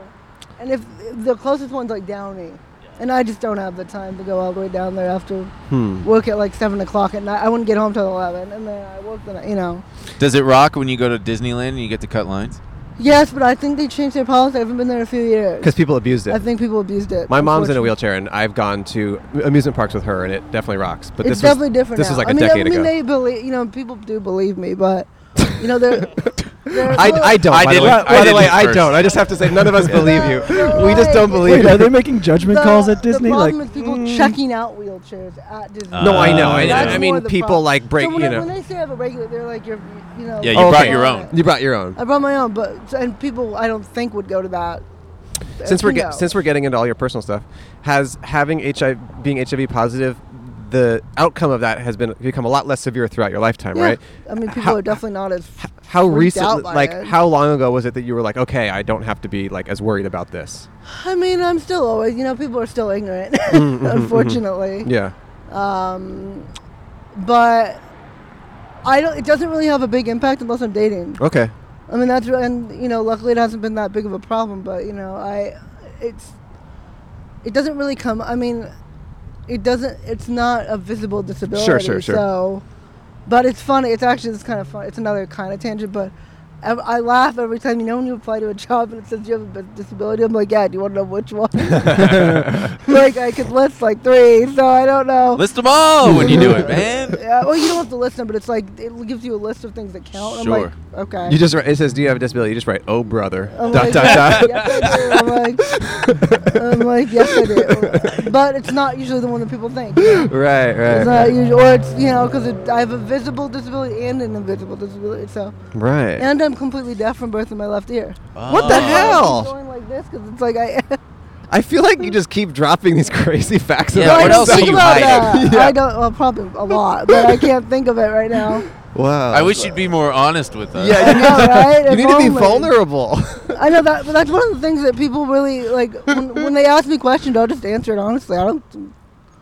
And if the closest one's like Downey, and I just don't have the time to go all the way down there after Hmm. work at like seven o'clock at night. I wouldn't get home till eleven, and then I work the night. You know. Does it rock when you go to Disneyland and you get to cut lines? Yes, but I think they changed their policy. I haven't been there in a few years. Because people abused it. I think people abused it. My mom's in a unfortunately. wheelchair, and I've gone to amusement parks with her, and it definitely rocks. But this it's was definitely different. this now. was like I a mean, decade I mean, ago. they believe. You know, people do believe me, but you know, they're. they're I, well, I don't. I by the didn't- way, I by the didn't way, I first. don't. I just have to say, none of us believe you. No, We just don't no, believe Wait, are you. they making judgment the- calls at Disney? The problem Like, mm. is people checking out wheelchairs at Disney. Uh, No, I know. I, That's I more mean, the people problem. like break. So when, you I- know, when they say I have a regular, they're like you're, you know. Yeah, you Oh, brought okay. your own. you brought your own. I brought my own, but and people I don't think would go to that. uh, Uh, Since You we're get, know. since we're getting into all your personal stuff, has having HIV being HIV positive, the outcome of that has been become a lot less severe throughout your lifetime, Yeah. right? I mean, people How- are definitely not as. How freaked recent, out by like it. how long ago was it that you were like, okay, I don't have to be like as worried about this? I mean, I'm still always, you know, people are still Mm, ignorant, unfortunately. Yeah. Um, but I don't. It doesn't really have a big impact unless I'm dating. Okay. I mean, that's re- and you know, luckily it hasn't been that big of a problem. But you know, I, it's, it doesn't really come. I mean, it doesn't. It's not a visible disability. sure, sure. So, but it's funny. It's actually it's kind of fun. It's another kind of tangent, but. I I laugh every time you know when you apply to a job and it says you have a disability. I'm like, yeah. Do you want to know which one? like I could list like three, so I don't know. List them all when you do it, man. Yeah, well, you don't have to list them, but it's like it gives you a list of things that count. I'm Sure. like, okay. You just write, it says, do you have a disability? You just write, oh brother. I'm dot like, dot dot. Yes, I do. I'm like, I'm like, yes, I do. But it's not usually the one that people think. right, right, It's not usually, or it's you know, because it, I have a visible disability and an invisible disability. So, right. and I'm completely deaf from birth in my left ear. what the I'm hell? going like this because it's like I. I feel like you just keep dropping these crazy facts. Yeah, No, about I what don't else yourself. are think you about hiding? that. I don't. Well, probably a lot, but I can't think of it right now. Wow. I wish you'd be more honest with us. Yeah, I know, right? you If need to be only. vulnerable. I know that, but that's one of the things that people really like when, when they ask me questions. I'll just answer it honestly. I don't.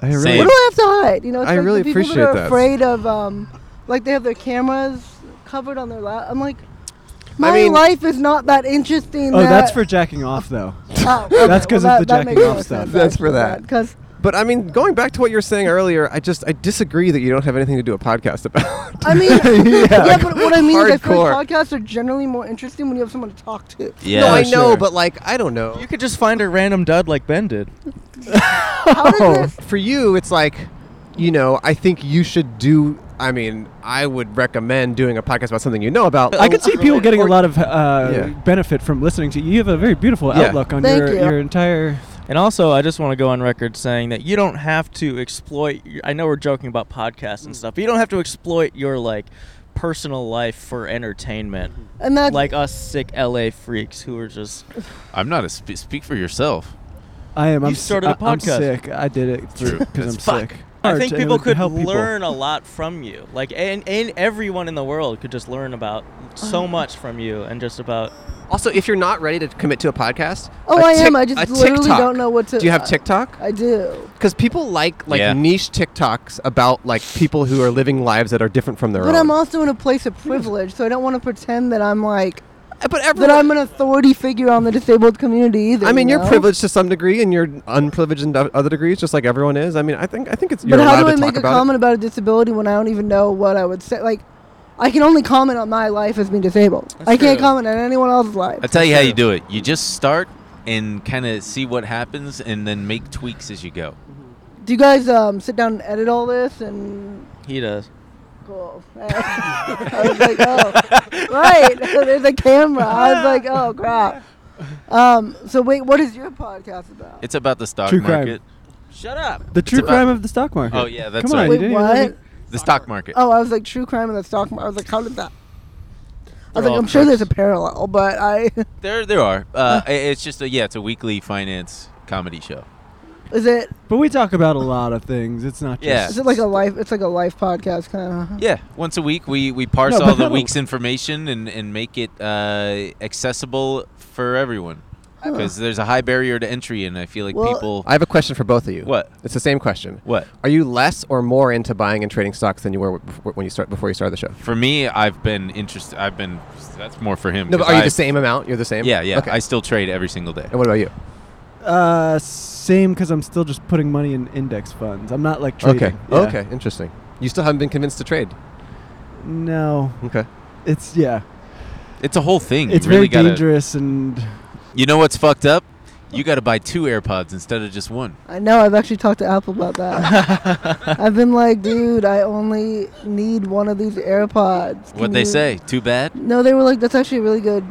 I really- What do I have to hide? You know, it's I like really the people appreciate that are that. afraid of, um, like they have their cameras covered on their lap. I'm like, my mean- life is not that interesting. oh, that, that's for jacking off, though. Oh, okay, that's 'cause well, of the that- that jacking makes off more stuff. sense, That's for actually, that. Because But I mean, going back to what you were saying earlier, I just I disagree that you don't have anything to do a podcast about. I mean, yeah, but what I mean is, I feel Hardcore. like podcasts are generally more interesting when you have someone to talk to. Yeah. no, I sure. know, but like I don't know. You could just find a random dud like Ben did. How does this? For you, it's like, you know, I think you should do. I mean, I would recommend doing a podcast about something you know about. I could see people getting a lot of uh, Yeah. benefit from listening to you. You have a very beautiful Yeah. outlook on Thank your, you. your entire. And also, I just want to go on record saying that you don't have to exploit. y- I know we're joking about podcasts and stuff, but you don't have to exploit your like personal life for entertainment, And that's like us sick LA freaks who are just. I'm not a spe- speak for yourself. I am. I'm You started a s- I- I'm podcast. sick. I did it True. because I'm It's fuck. sick. I Art, think and people it could help people. learn a lot from you. Like, and, and everyone in the world could just learn about so much from you and just about Also, if you're not ready to commit to a podcast, Oh, I I am. I just literally don't know what to- Do you have uh, TikTok? I do. Because people like like Yeah. niche TikToks about like people who are living lives that are different from their But own. I'm also in a place of privilege, so I don't want to pretend that I'm like but that everyone, I'm an authority figure on the disabled community either. I mean, you you're know? privileged to some degree, and you're unprivileged in o- other degrees, just like everyone is. I mean, I think I think it's. You're But how allowed do I to talk make a about it. comment about a disability when I don't even know what I would say? Like, I can only comment on my life as being disabled. I can't true. comment on anyone else's life. I'll tell you how you do it. You just start and kind of see what happens, and then make tweaks as you go. Do you guys um, sit down and edit all this and? He does. Cool. I was like, oh, right. There's a camera. I was like, oh crap. Um, so wait, what is your podcast about? It's about the stock True crime. market. Shut up. The true about- crime of the stock market. Oh, yeah, that's Come on, right. you Wait, didn't even let what? me- The stock market. Oh, I was like, true crime in the stock market. I was like, how did that? I was They're like, all I'm sure there's a crooks. parallel, but I There, there are. Uh, i- it's just a yeah. It's a weekly finance comedy show. is it But we talk about a lot of things. It's not just Yeah. is it like a life? It's like a life podcast kind of. Yeah, once a week we we parse all No, but the no. week's information and and make it uh, accessible for everyone because there's a high barrier to entry, and I feel like Well- people. I have a question for both of you. What? It's the same question. What? Are you less or more into buying and trading stocks than you were before, when you start before you started the show? For me, I've been interested. I've been. That's more for him. No, but 'cause are you I- the same amount? You're the same. Yeah, yeah. Okay. I still trade every single day. and what about you? uh, same because I'm still just putting money in index funds. I'm not like trading. Okay. Yeah. Okay. Interesting. You still haven't been convinced to trade. No, Okay. it's yeah. It's a whole thing. It's you really very gotta, dangerous and You know what's fucked up? You got to buy two AirPods instead of just one. I know. I've actually talked to Apple about that. I've been like, dude, I only need one of these AirPods. Can What they you-" say? Too bad. No, they were like, that's actually a really good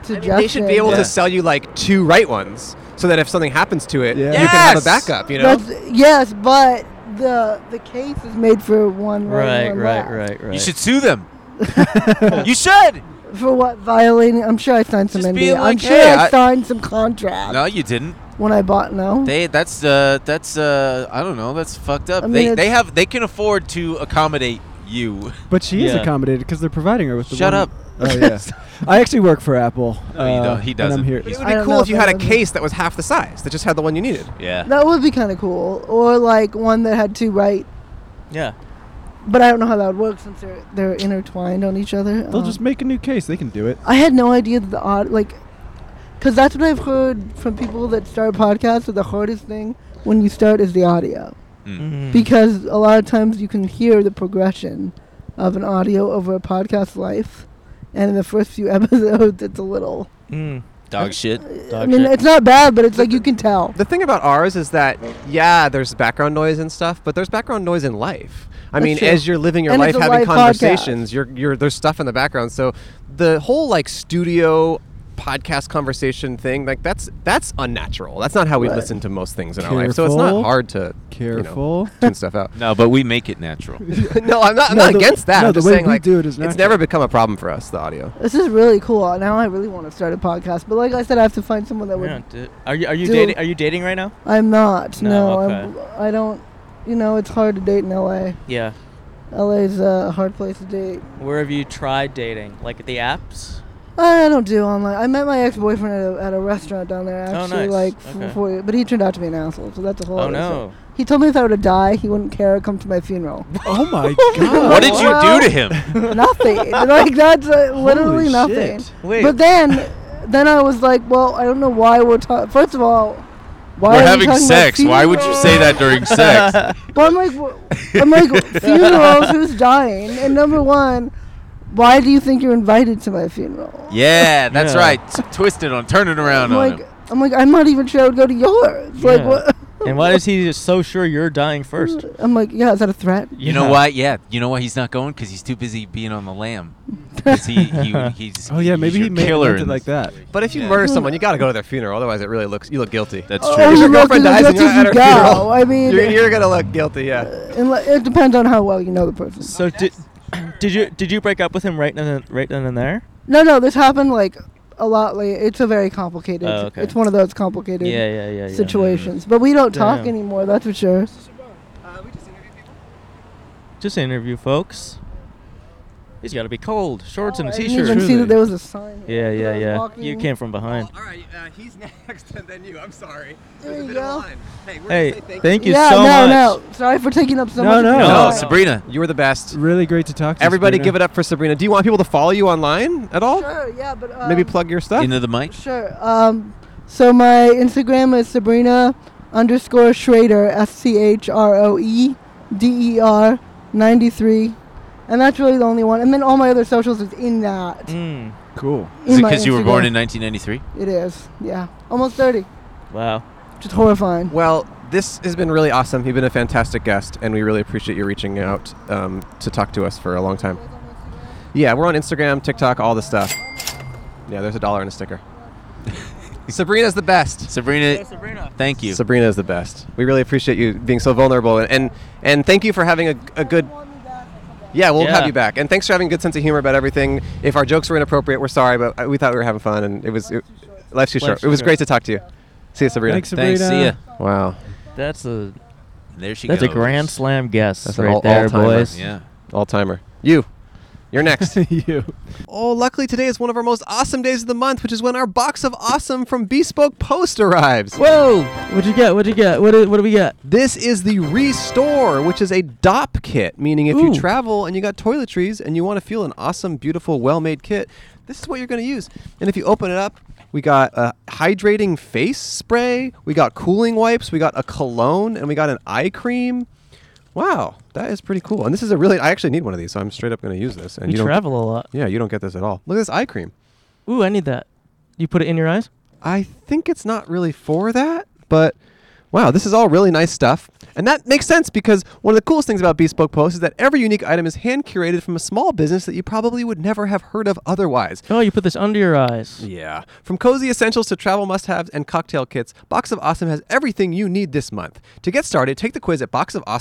suggestion. they should be able Yeah. to sell you like two right ones, so that if something happens to it, Yeah. you can have a Yes! backup. You know. That's, yes, but the the case is made for one right, Right, and one right, left. right, right. You should sue them. you should. For what violating? I'm sure I signed some Just NDA. being I'm like, sure "Hey, I, I- signed some contract No, you didn't. when I bought. No, They that's uh that's uh I don't know that's fucked up. I mean, they they it's- have they can afford to accommodate you. but she is Yeah. accommodated because they're providing her with the Shut one- up. Oh yeah. I actually work for Apple. uh, No, you don't. He and I'm doesn't. here- It He's- would I be don't cool know if you if had that a would be- case that was half the size, that just had the one you needed. Yeah. that would be kind of cool, or like one that had two right. yeah. But I don't know how that would work since they're they're intertwined on each other. They'll Um, just make a new case. They can do it. I had no idea that the odd like, because that's what I've heard from people that start podcasts. That the hardest thing when you start is the audio, Mm-hmm. because a lot of times you can hear the progression of an audio over a podcast life, and in the first few episodes, it's a little. Mm. Dog shit. I Dog mean, shit. it's not bad, but it's like you can tell. The thing about ours is that, yeah, there's background noise and stuff, but there's background noise in life. I That's mean, true. as you're living your And life, it's a having live conversations, you're, you're, there's stuff in the background. So the whole like studio podcast conversation thing, like that's that's unnatural. That's not how we Right. listen to most things in our life. So it's not Careful. hard to you know, Careful. tune stuff out. No, but we make it natural. no, I'm not. I'm No, not the- against that. no, I'm the just way saying we like do it is it's natural. never become a problem for us. The audio. This is really cool. Now I really want to start a podcast, but like I said, I have to find someone that would. Yeah, dude. Are you are you Do- dating? Are you dating right now? I'm not. No, No, okay. I'm- I don't. You know, it's hard to date in LA. Yeah. LA's a hard place to date. Where have you tried dating? Like at the apps? I don't do online. I met my ex-boyfriend at a, at a restaurant down there. Oh, Actually, nice. like f- Okay. for, but he turned out to be an asshole, so that's a whole. Oh other no. thing. He told me if I were to die, he wouldn't care. Come to my funeral. oh my god. what did you do to him? nothing. Like that's uh, Holy literally nothing. shit. Wait. But then, then I was like, well, I don't know why we're talking. First of all, why We're are we having talking about sex. Why would you say funerals? that during sex? But I'm like, wh- I'm like funerals. Who's dying? And number one, why do you think you're invited to my funeral? Yeah, that's Yeah. right. T- Twist it on, turn it around I'm on like, him. I'm like, I'm not even sure I would go to yours. Like, Yeah. what? and why is he so sure you're dying first? I'm like, yeah, is that a threat? You know why? Yeah, you know why he's not going? Because he's too busy being on the lamb. 'Cause he, he, he's, Oh yeah, he's maybe your he made it killer meant it in like this- that. But if you Yeah. murder someone, you got to go to their funeral. Otherwise, it really looks you look guilty. That's Oh, true. If you your look girlfriend as dies and guilty you're as at you her go. I Uh, mean, You're, you're gonna look guilty. Uh, Yeah. unle- it depends on how well you know the person. So did did you did you break up with him right then right then and there? No, no, this happened like a lot late. It's a very complicated. Oh, okay. It's one of those complicated Yeah, yeah, yeah, yeah. situations. But we don't talk Damn. anymore. That's for sure. Just interview folks. He's got to be cold, shorts and I a didn't t-shirt. Oh, even see that there was a sign. yeah, yeah, I was yeah. walking- You came from behind. all right, uh, he's next, and then you. I'm sorry. There There's a you bit of a go. line. Hey, we're Hey, gonna say thank, thank you yeah, so no, much. no. Sorry for taking up so No, much. no. of your No, Oh, time. Sabrina. You were the best. Mm, Really great to talk to. Everybody, Sabrina. give it up for Sabrina. Do you want people to follow you online at all? Sure, yeah, but um, Maybe plug your stuff. Into the mic. Sure. Um, so my Instagram is Sabrina underscore Schrader, S C H R O E D E R 93. And that's really the only one. And then all my other socials is in that. Mm, Cool. Is in it my because you were born Instagram. in 1993? It is, yeah. Almost 30. wow. Just horrifying. Well, this has been really awesome. You've been a fantastic guest, and we really appreciate you reaching out um, to talk to us for a long time. Yeah, we're on Instagram, TikTok, all the stuff. Yeah, there's a dollar and a sticker. Sabrina's the best. Sabrina, thank you. Sabrina is the best. We really appreciate you being so vulnerable, and and, and thank you for having a, a good. Yeah, we'll Yeah. have you back, and thanks for having a good sense of humor about everything. If our jokes were inappropriate, we're sorry, but uh, we thought we were having fun, and it was it, life's too short. Life's it was too great short. to talk to you. See you, Sabrina. Thanks, Sabrina. Thanks. See ya. Wow, That's a There she that's goes. a grand slam guess That's an right all- there, all-timer. boys. Yeah. all timer. You, you're next. you. Oh, luckily today is one of our most awesome days of the month, which is when our box of awesome from Bespoke Post arrives. Whoa! What'd you get? What'd you get? What do, what do we get? This is the Restore, which is a DOP kit, meaning if you Ooh. travel and you got toiletries and you want to feel an awesome, beautiful, well made kit, this is what you're going to use. And if you open it up, we got a hydrating face spray, we got cooling wipes, we got a cologne, and we got an eye cream. Wow, that is pretty cool. And this is a really, I actually need one of these, so I'm straight up going to use this. And You, don't, travel a lot. Yeah, you don't get this at all. Look at this eye cream. Ooh, I need that. You put it in your eyes? I think it's not really for that, but wow, this is all really nice stuff. And that makes sense because one of the coolest things about Bespoke Post is that every unique item is hand curated from a small business that you probably would never have heard of otherwise. Oh, you put this under your eyes. Yeah. From cozy essentials to travel must haves and cocktail kits, Box of Awesome has everything you need this month. To get started, take the quiz at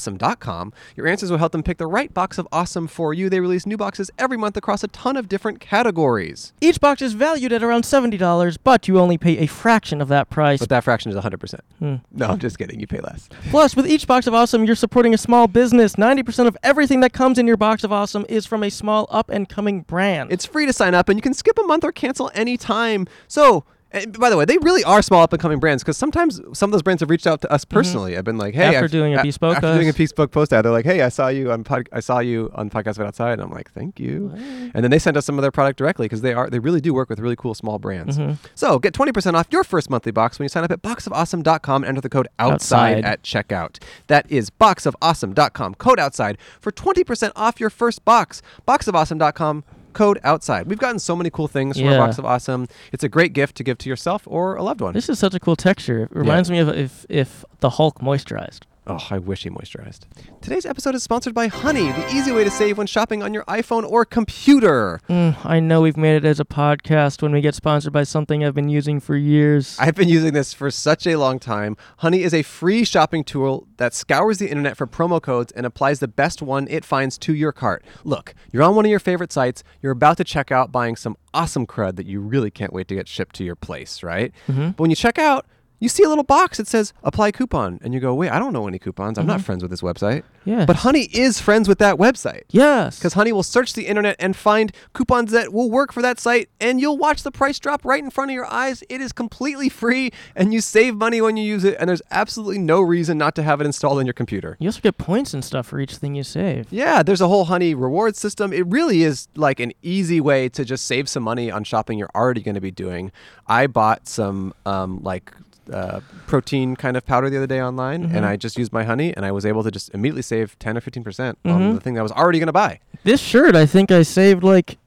boxofawesome.com. Your answers will help them pick the right box of awesome for you. They release new boxes every month across a ton of different categories. Each box is valued at around seventy dollars, but you only pay a fraction of that price. But that fraction is 100%. Hmm. No, I'm just kidding. You pay less. Plus, with each box of awesome, you're supporting a small business. Ninety percent of everything that comes in your box of awesome is from a small up and coming brand. It's free to sign up, and you can skip a month or cancel any time. So, and by the way, they really are small up and coming brands because sometimes some of those brands have reached out to us personally. I've been like, hey, Mm-hmm. After I've- doing a bespoke after doing a us. bespoke post ad, they're like, hey, I saw you on pod- I saw you on podcast about outside, and I'm like, thank you. And then they sent us some of their product directly because they are they really do work with really cool small brands. Mm-hmm. So get 20% off your first monthly box when you sign up at boxofawesome.com and enter the code outside, Outside. at checkout. That is boxofawesome.com, code outside for 20% off your first box. Boxofawesome.com, code outside. We've gotten so many cool things from our Yeah. Box of Awesome. It's a great gift to give to yourself or a loved one. this is such a cool texture. It reminds me of if if the Hulk moisturized. Oh, I wish he moisturized. Today's episode is sponsored by Honey, the easy way to save when shopping on your iPhone or computer. Mm, I know we've made it as a podcast when we get sponsored by something I've been using for years. I've been using this for such a long time. Honey is a free shopping tool that scours the internet for promo codes and applies the best one it finds to your cart. Look, you're on one of your favorite sites, you're about to check out buying some awesome crud that you really can't wait to get shipped to your place, right? But when you check out, you see a little box that says apply coupon, and you go, wait, I don't know any coupons. I'm not friends with this website. Yes. But Honey is friends with that website. yes. Because Honey will search the internet and find coupons that will work for that site, and you'll watch the price drop right in front of your eyes. It is completely free, and you save money when you use it, and there's absolutely no reason not to have it installed on your computer. you also get points and stuff for each thing you save. Yeah, there's a whole Honey reward system. It really is like an easy way to just save some money on shopping you're already going to be doing. I bought some um, like uh, protein kind of powder the other day online, and I just used my Honey, and I was able to just immediately save 10 or 15% percent on the thing that I was already going to buy. This shirt, I think I saved like,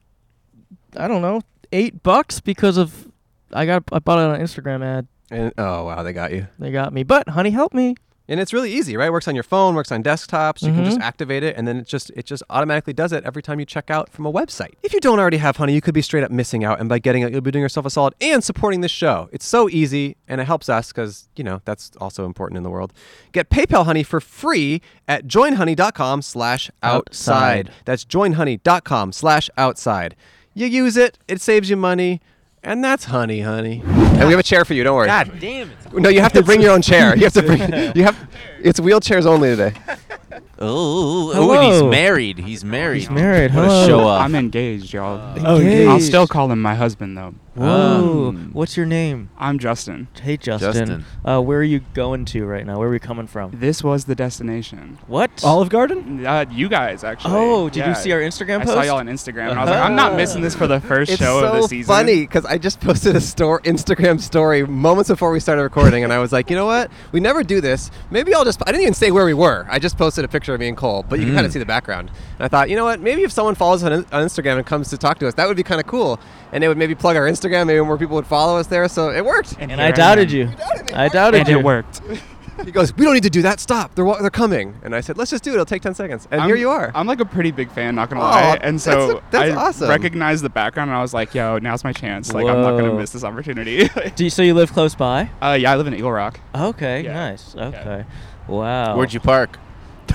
I don't know, eight bucks because of I got I bought it on an Instagram ad. And oh, wow, they got you. They got me, but honey, help me. and it's really easy right works on your phone works on desktops you can just Mhm. activate it and then it just it just automatically does it every time you check out from a website if you don't already have honey you could be straight up missing out and by getting it you'll be doing yourself a solid and supporting this show it's so easy and it helps us because you know that's also important in the world get paypal honey for free at joinhoney.com slash outside Outside. that's joinhoney.com slash outside you use it it saves you money and that's honey honey and we have a chair for you don't worry Damn it. no, you have to bring your own chair. You have to bring. You have. It's wheelchairs only today. Oh, oh, and he's Hello. married. He's married. He's married. What Hello. a show off. Oh. I'm engaged, y'all. Oh, Engaged. I'll still call him my husband, though. Whoa. Um, What's your name? I'm Justin. Hey, Justin. Justin. Uh, where are you going to right now? Where are we coming from? This was the destination. What? Olive Garden? Uh, you guys, actually. oh, did Yeah. you see our Instagram I post? Uh-huh. saw y'all on Instagram, and I was like, I'm not missing this for the first It's show so of the season. funny because I just posted a store Instagram story moments before we started recording, and I was like, you know what? We never do this. Maybe I'll just. I didn't even say where we were. I just posted a picture of me and Cole, but you Mm. can kind of see the background. And I thought, you know what? Maybe if someone follows on, on Instagram and comes to talk to us, that would be kind of cool. And they would maybe plug our Instagram. Maybe more people would follow us there. So it worked. and here I am. doubted you. I doubted And you. it worked. He goes, we don't need to do that. Stop. They're wa- they're coming. And I said, let's just do it. It'll take ten seconds. And I'm- here you are. I'm like a pretty big fan, not gonna Aw, lie. And so that's- that's I awesome. recognized the background, and I was like, "Yo, now's my chance. Like, I'm not gonna Whoa. miss this opportunity." Do you, so you live close by? uh, yeah, I live in Eagle Rock, Okay, Yeah. nice. Yeah. Okay. Wow. Where'd you park?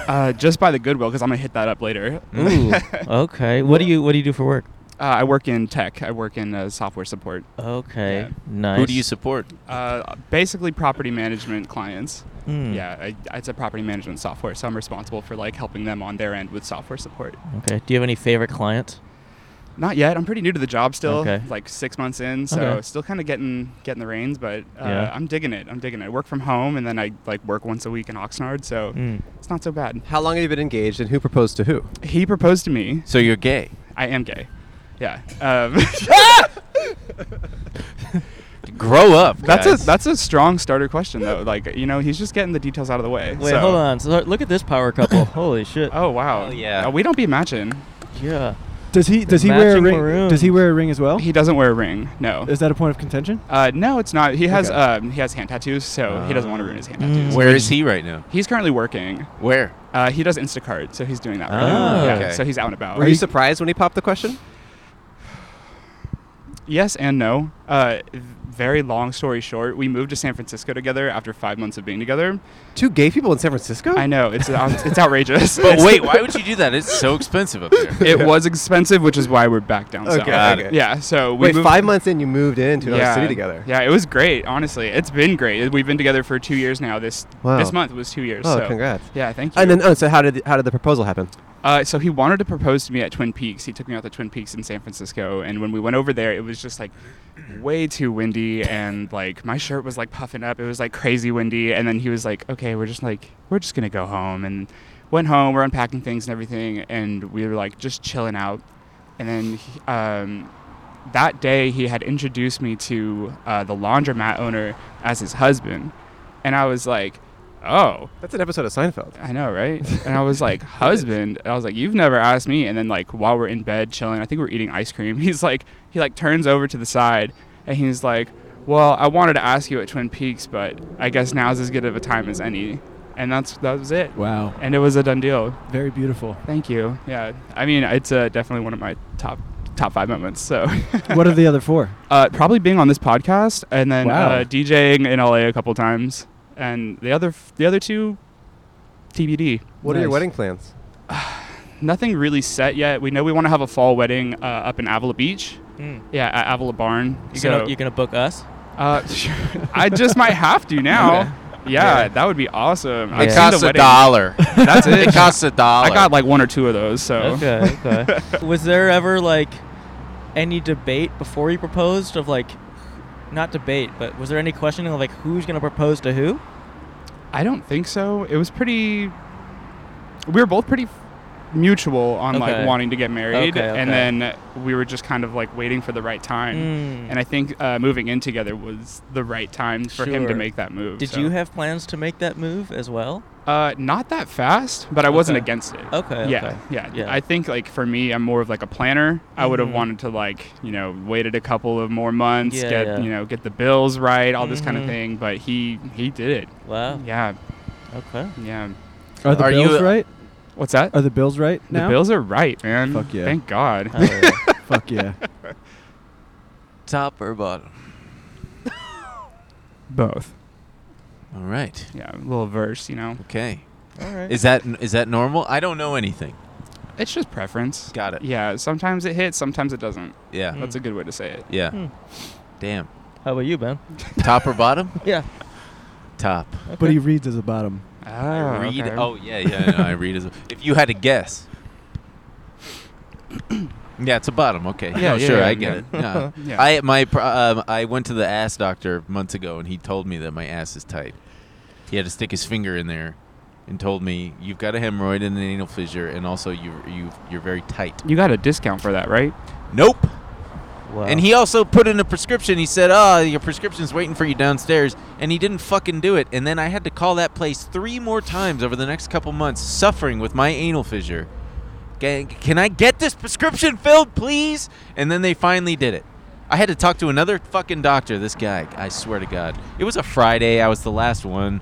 uh, just by the Goodwill, because I'm gonna hit that up later. Ooh. Okay. What do you What do you do for work? Uh, I work in tech. I work in uh, software support. Okay. Yeah. Nice. Who do you support? Uh, basically, property management clients. Mm. Yeah, I, it's a property management software, so I'm responsible for like helping them on their end with software support. Okay. Do you have any favorite clients? Not yet. I'm pretty new to the job still. Okay. Like six months in, so Okay. still kind of getting getting the reins, but uh, Yeah. I'm digging it. I'm digging it. I work from home, and then I like work once a week in Oxnard, so Mm. it's not so bad. How long have you been engaged, and who proposed to who? He proposed to me. So you're gay. I am gay. Yeah. Um, Grow up. that's guys. a that's a strong starter question though. Like you know, he's just getting the details out of the way. Wait, so- hold on. So look at this power couple. Holy shit. Oh wow. Oh, yeah. Uh, we don't be matching. Yeah. Does he does he The wear a matching ring? maroons. Does he wear a ring as Oh. well? He doesn't wear a ring. No. Is that a point of contention? Uh, no, it's not. He has Okay. um, he has hand tattoos, so he doesn't want to ruin his hand Mm. tattoos. Where is he right now? He's currently working. Where? Uh, he does Instacart, so he's doing that right Ah, now. Yeah, okay. so he's out and about. Were Oh, you surprised when he popped the question? yes and no. Uh, very long story short, we moved to San Francisco together after five months of being together. Two gay people in San Francisco? I know it's out- it's outrageous. But It's- wait, why would you do that? It's so expensive up there. It was expensive, which is why we're back down south. Okay, Got okay. it. Yeah, so we Wait, moved, five months in, you moved into another city together. Yeah, it was great. Honestly, it's been great. We've been together for two years now. This Wow. this month was two years. Oh, so. congrats. Yeah, thank you. And then, oh, so how did the, how did the proposal happen? Uh, so he wanted to propose to me at Twin Peaks. He took me out to Twin Peaks in San Francisco, and when we went over there, it was just like way too windy, and like my shirt was like puffing up. It was like crazy windy, and then he was like, "Okay, we're just like we're just gonna go home," and went home. We're unpacking things and everything, and we were like just chilling out. And then he- um, that day, he had introduced me to uh, the laundromat owner as his husband, and I was like, "Oh." That's an episode of Seinfeld. I know, right? And I was like, husband. And I was like, you've never asked me. And then like while we're in bed chilling, I think we're eating ice cream. He's like, he like turns over to the side and he's like, well, I wanted to ask you at Twin Peaks, but I guess now's as good of a time as any. And that's that was it. Wow, And it was a done deal. very beautiful. Thank you. Yeah, I mean, it's uh, definitely one of my top top five moments. So what are the other four? uh, probably being on this podcast and then Wow. uh, DJing in LA a couple times, and the other the other two, TBD. What are your Nice. wedding plans? Nothing really set yet. We know we want to have a fall wedding uh, up in Avila Beach. Mm. Yeah, at Avila Barn. You so, gonna You gonna book us? uh, sure. I just might have to now. Yeah, that would be awesome. I've It seen costs the a wedding. dollar. That's it. It costs a dollar. I got like one or two of those. So Okay. Okay. Was there ever like any debate before you proposed of like, not debate, but was there any questioning of like who's gonna propose to who? I don't think so. It was pretty. We were both pretty f- mutual on Okay. like wanting to get married, Okay, and okay. then we were just kind of like waiting for the right time. Mm. And I think uh, moving in together was the right time for him to Sure. make that move. Did so. you have plans to make that move as well? Uh, not that fast, but I wasn't Okay. against it. Okay, Yeah, okay. yeah. Yeah. I think like for me, I'm more of like a planner. I would Mm-hmm. have Mhm. wanted to like you know waited a couple of more months, Yeah, get yeah. you know get the bills right, all this kind of Mm-hmm. Mhm. thing. But he he did it. Wow. Yeah, Okay. yeah. Are the Are you, bills uh, right? What's that? Are the bills right now? The bills are right, man. Fuck yeah. Thank God. Hell yeah. Fuck yeah. top or bottom. Both. All right. Yeah, a little verse, you know. Okay. All right. Is that is that normal? I don't know anything. It's just preference. Got it. Mm. Yeah, sometimes it hits, sometimes it doesn't. Yeah. That's a good way to say it. Yeah. Hmm. Damn. How about you, Ben? Top or bottom? Yeah. top. But he reads as a bottom. Ah, read. okay. Oh yeah, yeah. No, I read as. If you had to guess. Yeah, it's a bottom. Okay. Yeah, No, yeah, sure, yeah, I get it. Yeah. Yeah. I my pro- um, I went to the ass doctor months ago, and he told me that my ass is tight. He had to stick his finger in there, and told me you've got a hemorrhoid and an anal fissure, and also you you you're very tight. You got a discount for that, right? Nope. Wow. And he also put in a prescription. He said, "Ah, your prescription's waiting for you downstairs," and he didn't fucking do it. And then I had to call that place three more times over the next couple months, suffering with my anal fissure. Can, can I get this prescription filled, please? And then they finally did it. I had to talk to another fucking doctor. This guy, I swear to God, it was a Friday. I was the last one.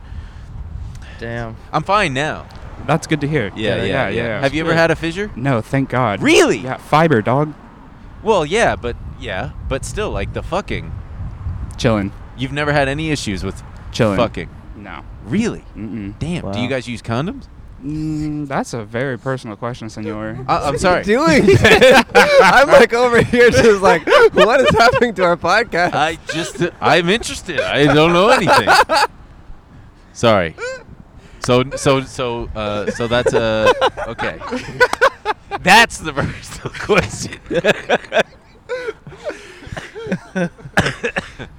Damn. I'm fine now. That's good to hear. Yeah, yeah, yeah. Have you ever had a fissure? No, thank God. Really? Yeah, fiber, dog. Well, yeah, but yeah, but still, like the fucking. Chilling. You've never had any issues with Chilling. fucking. No. Really? Mm-mm. Damn. Do you Wow. guys use condoms? Mm, that's a very personal question, senor. I, I'm sorry. doing? Ben? I'm like over here, just like, what is happening to our podcast? I just I'm interested. I don't know anything. Sorry. So so so uh, so that's uh okay. That's the personal question.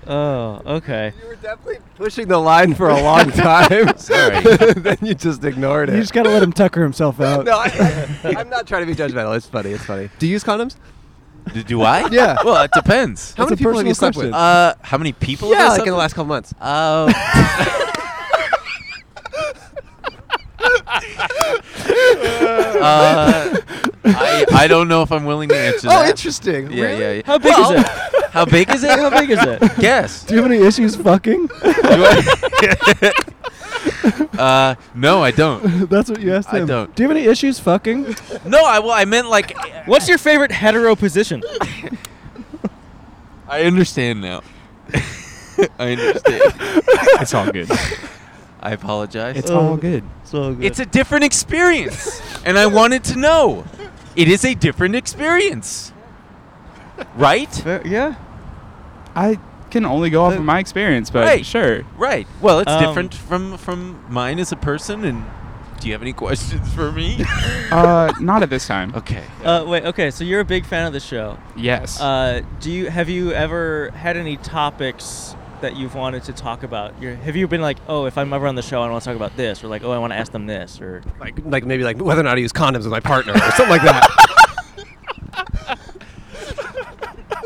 Oh, okay. you were definitely pushing the line for a long time. Sorry. then you just ignored it. You just gotta let him tucker himself out. no, I, I'm not trying to be judgmental. It's funny. It's funny. Do you use condoms? Do, do I? Yeah. Well, it depends. How That's many a people have you personal slept with? question. Uh, how many people? yeah, have like in the something? last couple months. Uh, uh, I, I don't know if I'm willing to answer Oh, that. interesting. Yeah, really? yeah, yeah. How big is it? How big is How it? big is it? Guess. Do you have any issues fucking? Do I- uh, no, I don't. That's what you asked I him. don't. Do you have any issues fucking? No, I well, I meant like. What's your favorite hetero position? I understand now. I understand. it's all good. I apologize. It's It's, all Um, good. So good. a different experience, and I wanted to know. It is a different experience, right? Fair- yeah. I can only go off Uh, of my experience, but Right. sure. Right. Well, it's Um, different from from mine as a person. And do you have any questions for me? Uh, not at this time. okay. Uh, wait. Okay. So you're a big fan of the show. Yes. Uh, do you have you ever had any topics that you've wanted to talk about? You're, have you been like, oh, if I'm ever on the show, I want to talk about this, or like, oh, I want to ask them this, or Like, like maybe like whether or not I use condoms with my partner or something like that.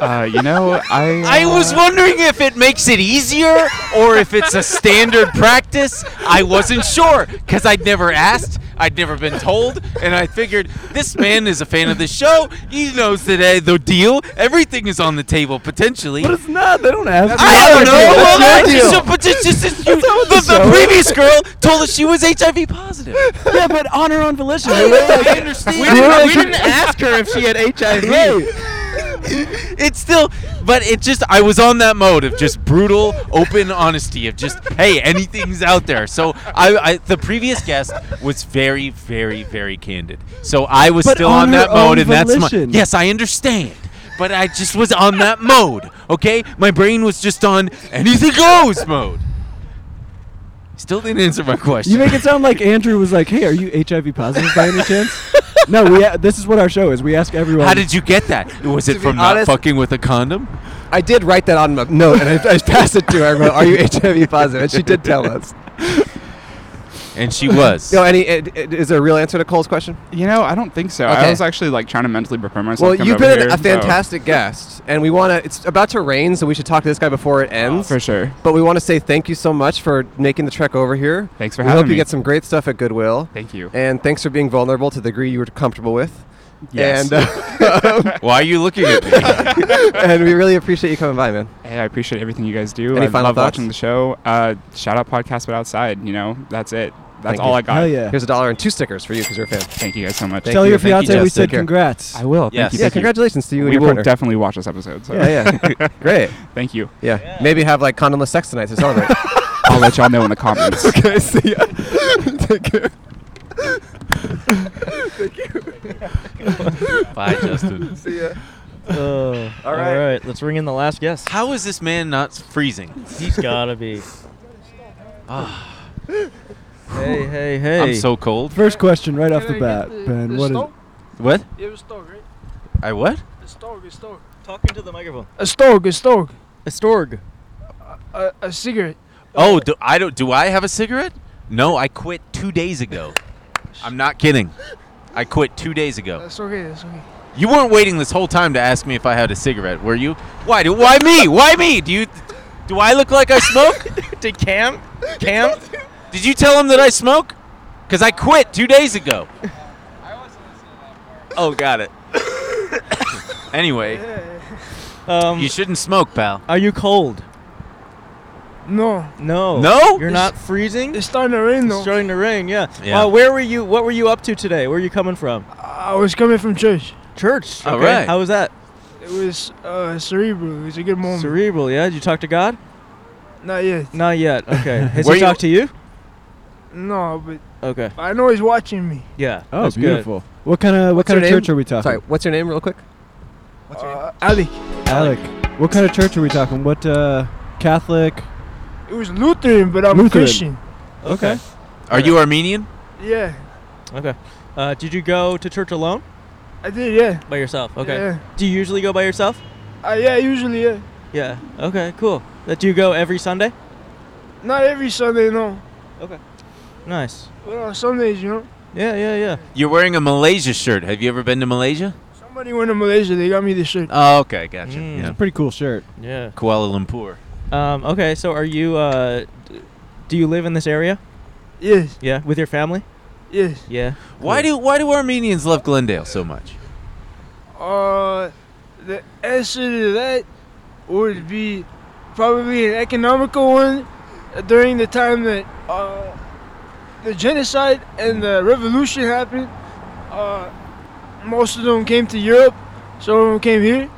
uh, you know, I. I was uh, wondering if it makes it easier or if it's a standard practice. I wasn't sure because I'd never asked, I'd never been told, and I figured this man is a fan of the show. He knows that eh, the deal, everything is on the table potentially. But it's not. They don't ask. I don't know. Well, That's that's your just, but just, just, just you, the, the previous girl told us she was HIV positive. deal. yeah, but on her own volition. I understand. ask her if she had Hey, it's still but it just i was on that mode of just brutal open honesty of just hey anything's out there so i, I the previous guest was very very very candid so i was But still on on that her mode own and that's my volition. yes i understand but i just was on that mode okay my brain was just on anything goes mode still didn't answer my question you make it sound like Andrew was like, "Hey, are you HIV positive by any chance?" no, we. A- this is what our show is. We ask everyone. how did you get that? Was To it be from honest- not fucking with a condom? I did write that on my note, and I, I passed it to her. I wrote, "Are you HIV positive?" And she did tell us. And she was. No, any i- i- is there a real answer to Cole's question? You know, I don't think so. Okay. I was actually like trying to mentally prepare myself. Well, to come you've over been here, a so- fantastic guest, and we want to. It's about to rain, so we should talk to this guy before it ends. Oh, for sure. But we want to say thank you so much for making the trek over here. Thanks for we having hope you me. get some great stuff at Goodwill. Thank you. And thanks for being vulnerable to the degree you were comfortable with. Yes. And, uh, Why are you looking at me? and we really appreciate you coming by, man. Hey, I appreciate everything you guys do. Any I final love thoughts? watching the show. Uh, shout out podcast, but outside. You know, that's it. That's Thank all you. I got. Hell yeah. Here's a dollar and two stickers for you because you're a fan. Thank you guys so much. Thank Tell you, your thank you, fiance we Jess. said Take care. congrats. I will. Yes. Thank you. yeah, thank you. congratulations to you and We your will partner. definitely watch this episode. So yeah, yeah. great. thank you. Yeah. Maybe have like condomless sex tonight to celebrate. I'll let y'all know in the comments. okay, see ya. Take care. Bye, Justin. See ya. Uh, all right. Let's ring in the last guest. How is this man not freezing? He's gotta be. Ah. Hey, hey, hey. I'm so cold. First question right off the Can I get bat, Ben. the What is? stoke? What? You have a stoke, right? I what? A stoke, a stoke. talking to the microphone. A stoke, a stoke. A storg. A, a cigarette. Oh, do I don't do I have a cigarette? No, I quit 2 days ago. I'm not kidding. I quit 2 days ago. That's okay, that's okay. You weren't waiting this whole time to ask me if I had a cigarette, were you? Why do why me? Why me? Do you do I look like I smoke? Did Cam? Cam? Did you tell him that I smoke? Cuz I quit 2 days ago. Oh, got it. anyway, Um, you shouldn't smoke, pal. are you cold? No, No. No? You're not freezing? it's starting to rain It's though. starting to rain, yeah. Yeah. Uh, where were you? What were you up to today? Where are you coming from? I was coming from church. Church. All Okay. right. How was that? It was uh, cerebral. It was a good moment. Cerebral, yeah. Did you talk to God? Not yet. Not yet. Okay. Has Were he you- talked to you? No, but Okay. I know he's watching me. Yeah. Oh, that's beautiful. What kind of what What's kind of her church name? are we talking? Sorry, what's your name, real quick? Uh, Alec. Alec. What kind of church are we talking? What uh, Catholic? It was Lutheran, but I'm Lutheran. Christian. Good. Okay. Are you Armenian? Yeah, Okay. Uh, did you go to church alone? I did. Yeah. By yourself. Okay. Yeah. Do you usually go by yourself? Uh, yeah, usually yeah. Yeah. Okay. Cool. That do you go every Sunday? Not every Sunday, no. Nice. But on Sundays, you know. Yeah. Yeah. Yeah. You're wearing a Malaysia shirt. Have you ever been to Malaysia? Somebody went to Malaysia. They got me this shirt. Oh, okay, gotcha. Mm. Yeah. Pretty cool shirt. Yeah. Kuala Lumpur. Um, okay. So are you? Uh, d- do you live in this area? Yes, Yeah. With your family? yes. Yeah. Why do why do Armenians love Glendale so much? Uh, the answer to that would be probably an economical one during the time that uh, the genocide and the revolution happened. Uh, most of them came to Europe, some of them came here,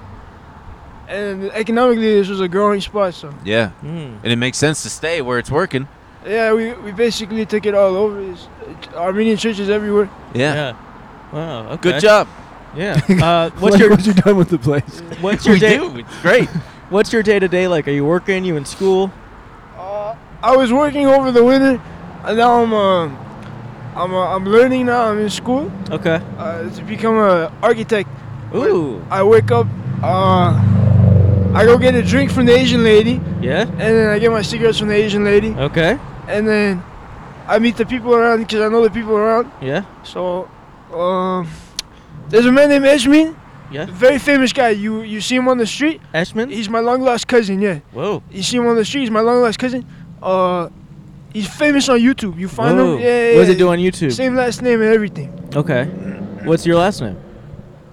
and economically this was a growing spot. So Yeah, Mm. and it makes sense to stay where it's working. yeah, we, we basically took it all over. It's, it's Armenian churches everywhere. Yeah. Wow. Okay. Good job. Yeah. Uh, what's like your what you done with the place? What's your we day? do. It's great. What's your day to day like? Are you working? You in school? Uh, I was working over the winter, and now I'm um, I'm uh, I'm learning now. I'm in school Okay. uh, to become a architect. Ooh. I wake up, uh, I go get a drink from the Asian lady, Yeah. and then I get my cigarettes from the Asian lady, Okay. and then I meet the people around because I know the people around. Yeah. So, um, there's a man named Eshmin, Yeah. very famous guy. You you see him on the street. Ashman. He's my long lost cousin. Yeah. Whoa. You see him on the streets, my long lost cousin. Uh, he's famous on YouTube. You find Whoa. him? Yeah, yeah. What does it yeah. do on YouTube? Same last name and everything. Okay. What's your last name?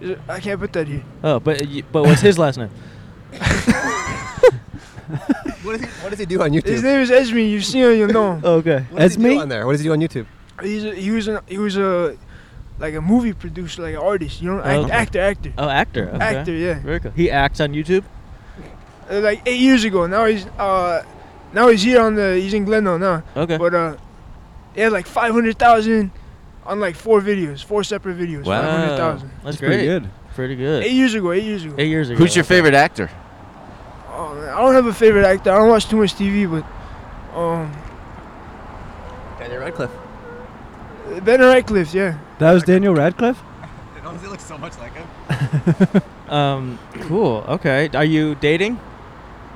Is it- I can't put that here. Oh, but y- but what's his last name? What does he, what does he do on YouTube? His name is Esme. You see him, you know. him. Okay. what does he do Esme? on there? What does he do on YouTube? He's a, he was an, he was a like a movie producer, like an artist. You know, act, Okay. actor, actor, Oh, actor. Okay. actor. Yeah, Very cool. He acts on YouTube. Uh, like eight years ago. Now he's uh, now he's here on the he's in Glendale now. Okay. But uh, he had like five hundred thousand on like four videos, four separate videos. Wow. Five hundred thousand. That's great. Pretty good. Pretty good. Eight years ago. Eight years ago. Eight years ago. Who's your okay. favorite actor? Oh, man, I don't have a favorite actor. I don't watch too much TV, but um, Daniel Radcliffe. Ben Radcliffe, yeah. That was Daniel Radcliffe. He looks so much like him. Um. Cool. Okay. Are you dating?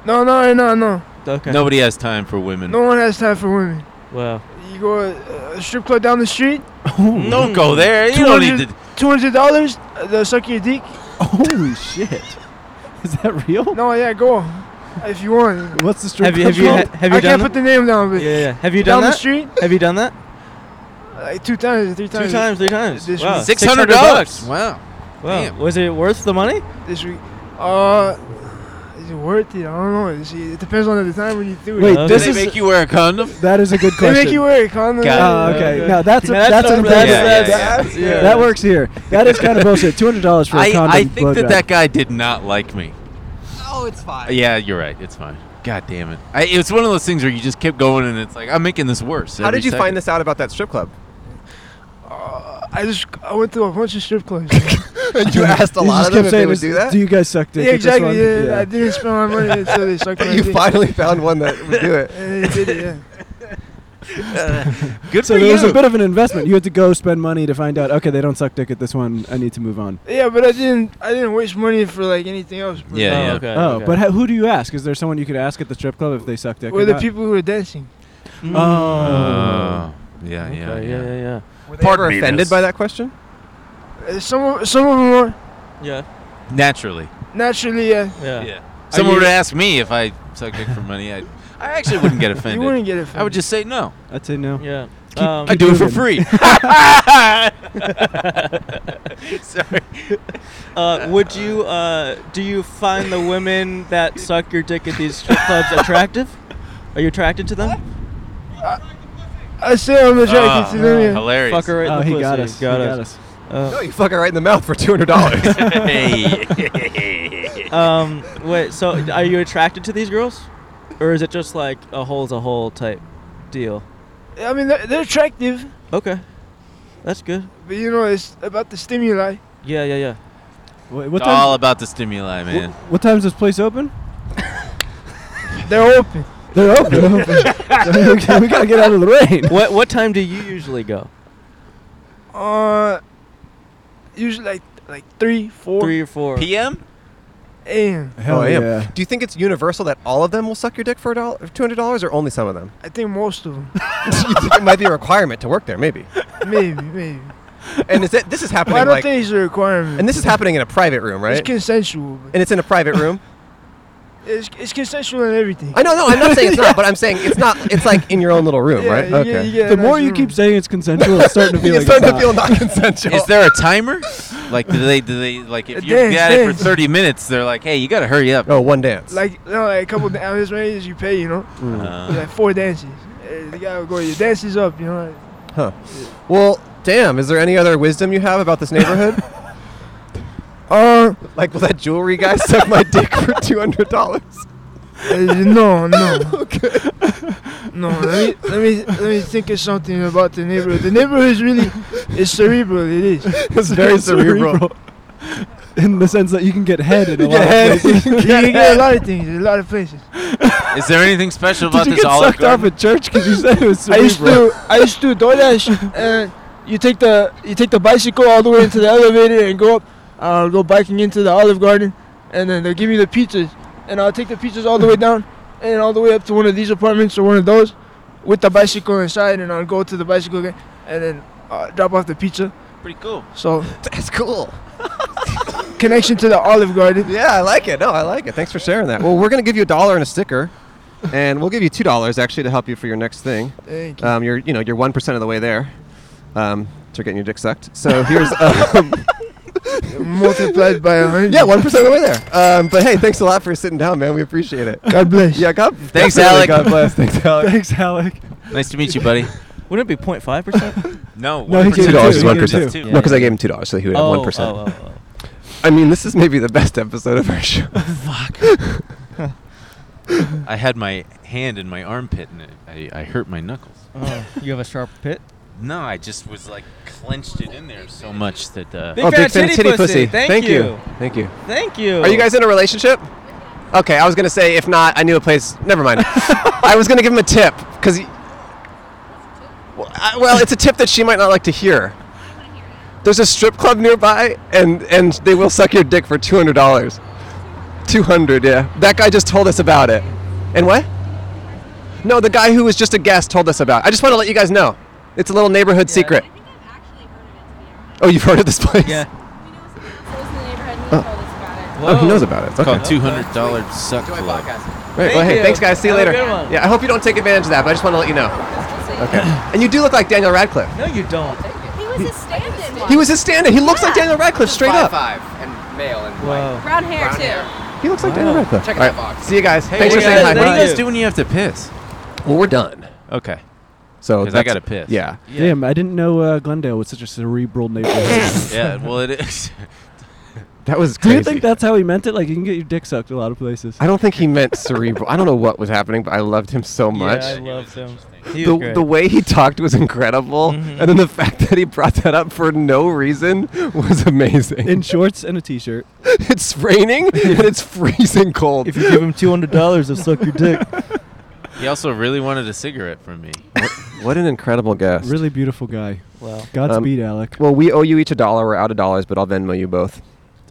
No, no, no, no. Okay. Nobody has time for women. No one has time for women. Wow. Mm-hmm. You go uh, a strip club down the street, Don't go there. You don't need to. two hundred dollars. uh, They'll suck your dick. Holy shit! Is that real? No, yeah, go if you want. What's the strip Have you club have you called? ha- have you I done can't that? put the name down, but Yeah, yeah. yeah. Have you down done the that? street, Have you done that? like two times, three times. Two times, three times. This Wow. was- Six hundred dollars. Wow. Wow. Damn. Was it worth the money? this week. Uh, is it worth it? I don't know. Is it, it depends on the time when you do it. Wait, Okay. Did this Oh, they is make you wear a condom? that is a good they question. make you wear a condom. Got Oh, okay. Okay. No, that's a, Yeah, that's, that's- an impression. that's- That- that's- yeah. That works here. That is kind of bullshit. Two hundred dollars for a I, condom. I think that blowjob. that guy did not like me. Oh, it's fine. Yeah, you're right. It's fine. God damn it. I, it's one of those things where you just kept going and it's like, I'm making this worse. How every did you second. find this out about that strip club? Uh, I just I went to a bunch of strip clubs. you asked a You lot just of them kept if saying, they would "Is- do that. Do you guys suck dick? yeah, at this exactly. one?" Yeah, I didn't spend my money until they sucked my you dick. finally found one that would do it. And they did it, yeah. Good So for there was you. a bit of an investment. You had to go spend money to find out. Okay, they don't suck dick at this one. I need to move on. Yeah, but I didn't. I didn't waste money for like anything else. but- Yeah, yeah. okay. oh, okay. but ha- who do you ask? Is there someone you could ask at the strip club if they suck dick? Were or the not? people who were dancing? Oh. Mm. Oh, yeah, Okay, yeah, yeah, yeah. yeah, yeah. Were they ever offended by that question? Uh, some of- some of them were Yeah, Naturally. naturally. Yeah, yeah. Someone you- would ask me if I suck dick for money. I, I actually wouldn't get offended. you wouldn't get it. I would just say no. I'd say no. Yeah. I Um, do it for moving. free. Sorry. uh, would you? Uh, do you find the women that suck your dick at these strip clubs attractive? Are you attracted to them? I say I'm attracted Ah, to them. Yeah. Hilarious. Fuck her right in Oh, the he pussy. got us. Got he us. Uh, No, you fuck her right in the mouth for two hundred dollars. Hey. um, wait. So, are you attracted to these girls, or is it just like a hole's a hole type deal? I mean, they're, they're attractive, Okay, that's good. but you know, it's about the stimuli. Yeah, yeah, yeah. Wha- What It's time? all about the stimuli, man. wh- What time's this place open? They're open. They're open. They're open. okay, we gotta get out of the rain. What what time do you usually go? Uh, usually like like three, four Three or four. PM? a.m. Hell Oh, I am. yeah. Do you think it's universal that all of them will suck your dick for a dollar, two hundred dollars, or only some of them? I think most of them. You think it might be a requirement to work there, maybe. maybe, maybe. And is it, this is Well, I happening don't like, think it's a requirement. and this is happening in a private room, right? It's consensual. But and it's in a private room. it's, it's consensual and everything. I know, no, I'm not saying it's not, but I'm saying it's not. It's like in your own little room, Yeah, right? you get- you get a the more nice you room. keep saying it's consensual, it's starting to feel You're like starting to it's feel not. non-consensual. Is there a timer? like, do they, do they, like, if It you have depends, got it for depends. 30 minutes, they're like, hey, you got to hurry up. oh, one dance. Like, you know, like a couple hours right? you pay, you know? Uh, Like four dances. Eh, You gotta go, your dance is up, you know? well, damn. Is there any other wisdom you have about this neighborhood? Uh, like, will that jewelry guy suck my dick for two hundred dollars? eh, Uh, no, no. okay. No, let me, let me, let me think of something about the neighborhood. The neighborhood is really, it's cerebral, it is. It's very cerebral. In the sense that you can get head in a lot of places. you can get a lot of things, a lot of places. is there anything special about Did you this get Olive sucked off Garden? at church because you said it was I used cerebral? to, I used to DoorDash, and you take the, you take the bicycle all the way into the elevator and go up. I'll go biking into the Olive Garden, and then they'll give me the pizzas, and I'll take the pizzas all the way down, and all the way up to one of these apartments or one of those, with the bicycle inside, and I'll go to the bicycle again, and then uh, drop off the pizza. Pretty cool. So That's cool. connection to the Olive Garden. Yeah, I like it. No, I like it. Thanks for sharing that. Well, we're gonna give you a dollar and a sticker, and we'll give you two dollars actually to help you for your next thing. Thank you. Um, you're you know you're one percent of the way there um, to getting your dick sucked. So here's um, Multiplied by a hundred. yeah one percent of the way there. Um, but hey, thanks a lot for sitting down, man. We appreciate it. God bless. Yeah, God. Thanks, definitely Alec. God bless. Thanks, Alec. Thanks, Alec. Nice to meet you, buddy. Wouldn't it be 0.5 percent? No, No, he gave Two it dollars two, is he one gave it percent. two. No, because I gave him two dollars, so he would have one percent. Oh, oh, I mean, this is maybe the best episode of our show. I had my hand in my armpit and it, I, I hurt my knuckles. oh, oh. you have a sharp pit. No, I just was like clenched it in there so much that uh, Big fat titty pussy. Thank you. Thank you. Thank you. Are you guys in a relationship? Okay, I was gonna say if not, I knew a place. Never mind. I was gonna give him a tip because. Well, I- well, it's a tip that she might not like to hear. There's a strip club nearby, and and they will suck your dick for two hundred dollars. Two hundred, yeah. That guy just told us about it. And what? No, the guy who was just a guest told us about. it. I just want to let you guys know. It's a little neighborhood secret. Oh, you've heard of this place? Yeah. Oh, he knows about it. It's okay. called two hundred dollar suck club. Right. Well, Thank hey, you. thanks, guys. See you Have a later. good one. Yeah, I hope you don't take advantage of that, but I just want to let you know. Okay. and you do look like Daniel Radcliffe. No, you don't. He was a stand-in. He was his stand-in. He looks like Yeah. Daniel Radcliffe straight up. Five and male and Whoa. brown hair Brown too. hair. He looks like Daniel Wow. Radcliffe. Check All that right. box. See you guys. Hey, thanks what for do you saying guys- hi. What do you Thank guys you. do when you have to piss? Well, we're done. Okay. So 'Cause I that's- gotta piss. Yeah. Damn, I didn't know uh, Glendale was such a cerebral neighborhood. Yeah. Well, it is. That was Do crazy. you think that's how he meant it? Like, you can get your dick sucked a lot of places. I don't think he meant cerebral. I don't know what was happening, but I loved him so much. Yeah, I loved him. He was the, great. the way he talked was incredible, Mhm. and then the fact that he brought that up for no reason was amazing. In shorts and a t-shirt. it's raining and it's freezing cold. if you give him two hundred dollars, he'll suck your dick. He also really wanted a cigarette from me. What an incredible guest. Really beautiful guy. Wow. Godspeed, um, Alec. Well, we owe you each a dollar. We're out of dollars, but I'll Venmo you both.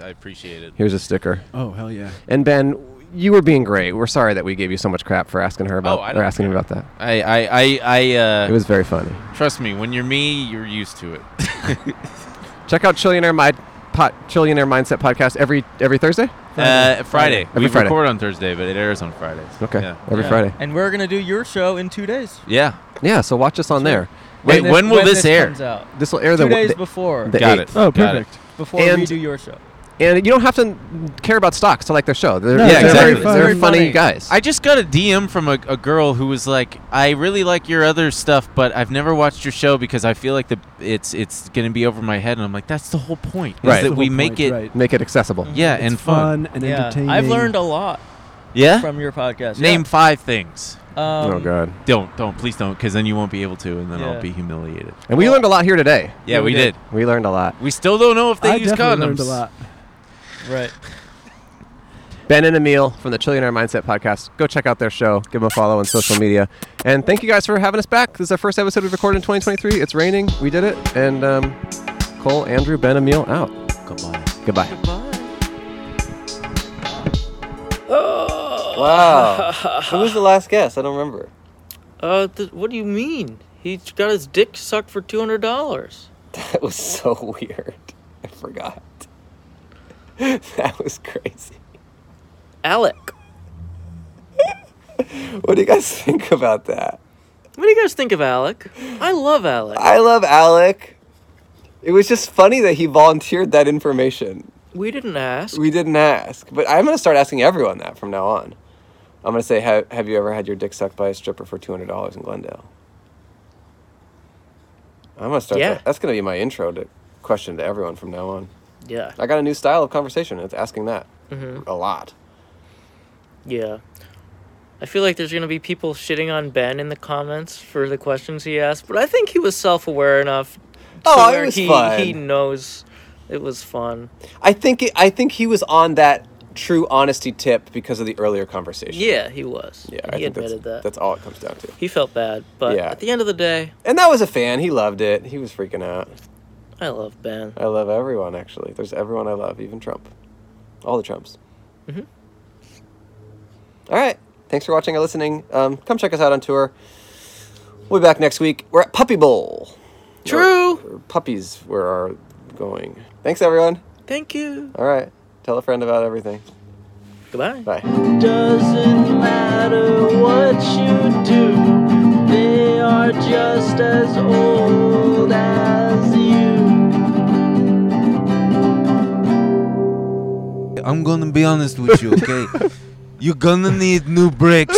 I appreciate it. Here's a sticker. Oh, hell yeah. And Ben, you were being great. We're sorry that we gave you so much crap for asking her about Oh, I or don't asking him about that. I, I, I, I uh, it was very funny. Trust me, when you're me, you're used to it. Uh, Check out Chillionaire Mind Pot Chillionaire Mindset podcast every every Thursday. uh, Friday. Every we Friday. record on Thursday, but it airs on Fridays. Okay. Yeah. Every Yeah. Friday. And we're gonna do your show in two days. Yeah. Yeah. So watch us on there. Wait, when, will this, air? Comes out. This will air two the days the- before. the Got 8th. it. Oh, Got it. perfect. Before we and- do your show. And you don't have to care about stocks to like their show. They're, No, yeah, they're exactly. very They're funny. funny Funny. guys. I just got a DM from a, a girl who was like, "I really like your other stuff, but I've never watched your show because I feel like the it's it's gonna be over my head." And I'm like, "That's the whole point. Is Right. That The we whole make point, it, right. Make it accessible. yeah, It's and fun. and yeah. entertaining. I've learned a lot Yeah. from your podcast. Name five things. Yeah. Um, oh God. Don't don't please don't, because then you won't be able to, and then Yeah. I'll be humiliated. And we learned a lot here today. Yeah, we did. We learned a lot. We still don't know if they I use definitely condoms. learned a lot. Right. Ben and Emil from the Chillionaire Mindset Podcast. Go check out their show. Give them a follow on social media. And thank you guys for having us back. This is our first episode we've recorded in 2023. It's raining. We did it. And um, Cole, Andrew, Ben, Emil out. Goodbye. Goodbye. Wow. Oh. Who was the last guest? I don't remember. Uh, th- what do you mean? He got his dick sucked for two hundred dollars. That was so weird. I forgot. That was crazy. Alec, What do you guys think about that? what do you guys think of Alec? I love Alec. I love Alec. It was just funny that he volunteered that information. We didn't ask. We didn't ask, but I'm gonna start asking everyone that from now on. I'm gonna say, have, have you ever had your dick sucked by a stripper for two hundred dollars in Glendale? I'm gonna start. Yeah. That. That's gonna be my intro to question to everyone from now on. Yeah, I got a new style of conversation. and It's asking that Mm-hmm. a lot. yeah. I feel like there's gonna be people shitting on Ben in the comments for the questions he asked, but I think he was self-aware enough. Oh, it where was he, fun. He knows it was fun. I think it, I think he was on that true honesty tip because of the earlier conversation. Yeah, he was. yeah. I he think admitted that's, that. That's all it comes down to. He felt bad, but Yeah. at the end of the day, And that was a fan. He loved it. He was freaking out. I love Ben. I love everyone, actually. There's everyone I love, even Trump. All the Trumps. Mm-hmm. right. Thanks for watching and listening. Um, come check us out on tour. We'll be back next week. We're at Puppy Bowl. True. Or- or puppies where are going. Thanks, everyone. Thank you. All right. Tell a friend about everything. Goodbye. Bye. Doesn't matter what you do, they are just as old as you. I'm gonna be honest with you, okay? You're gonna need new bricks,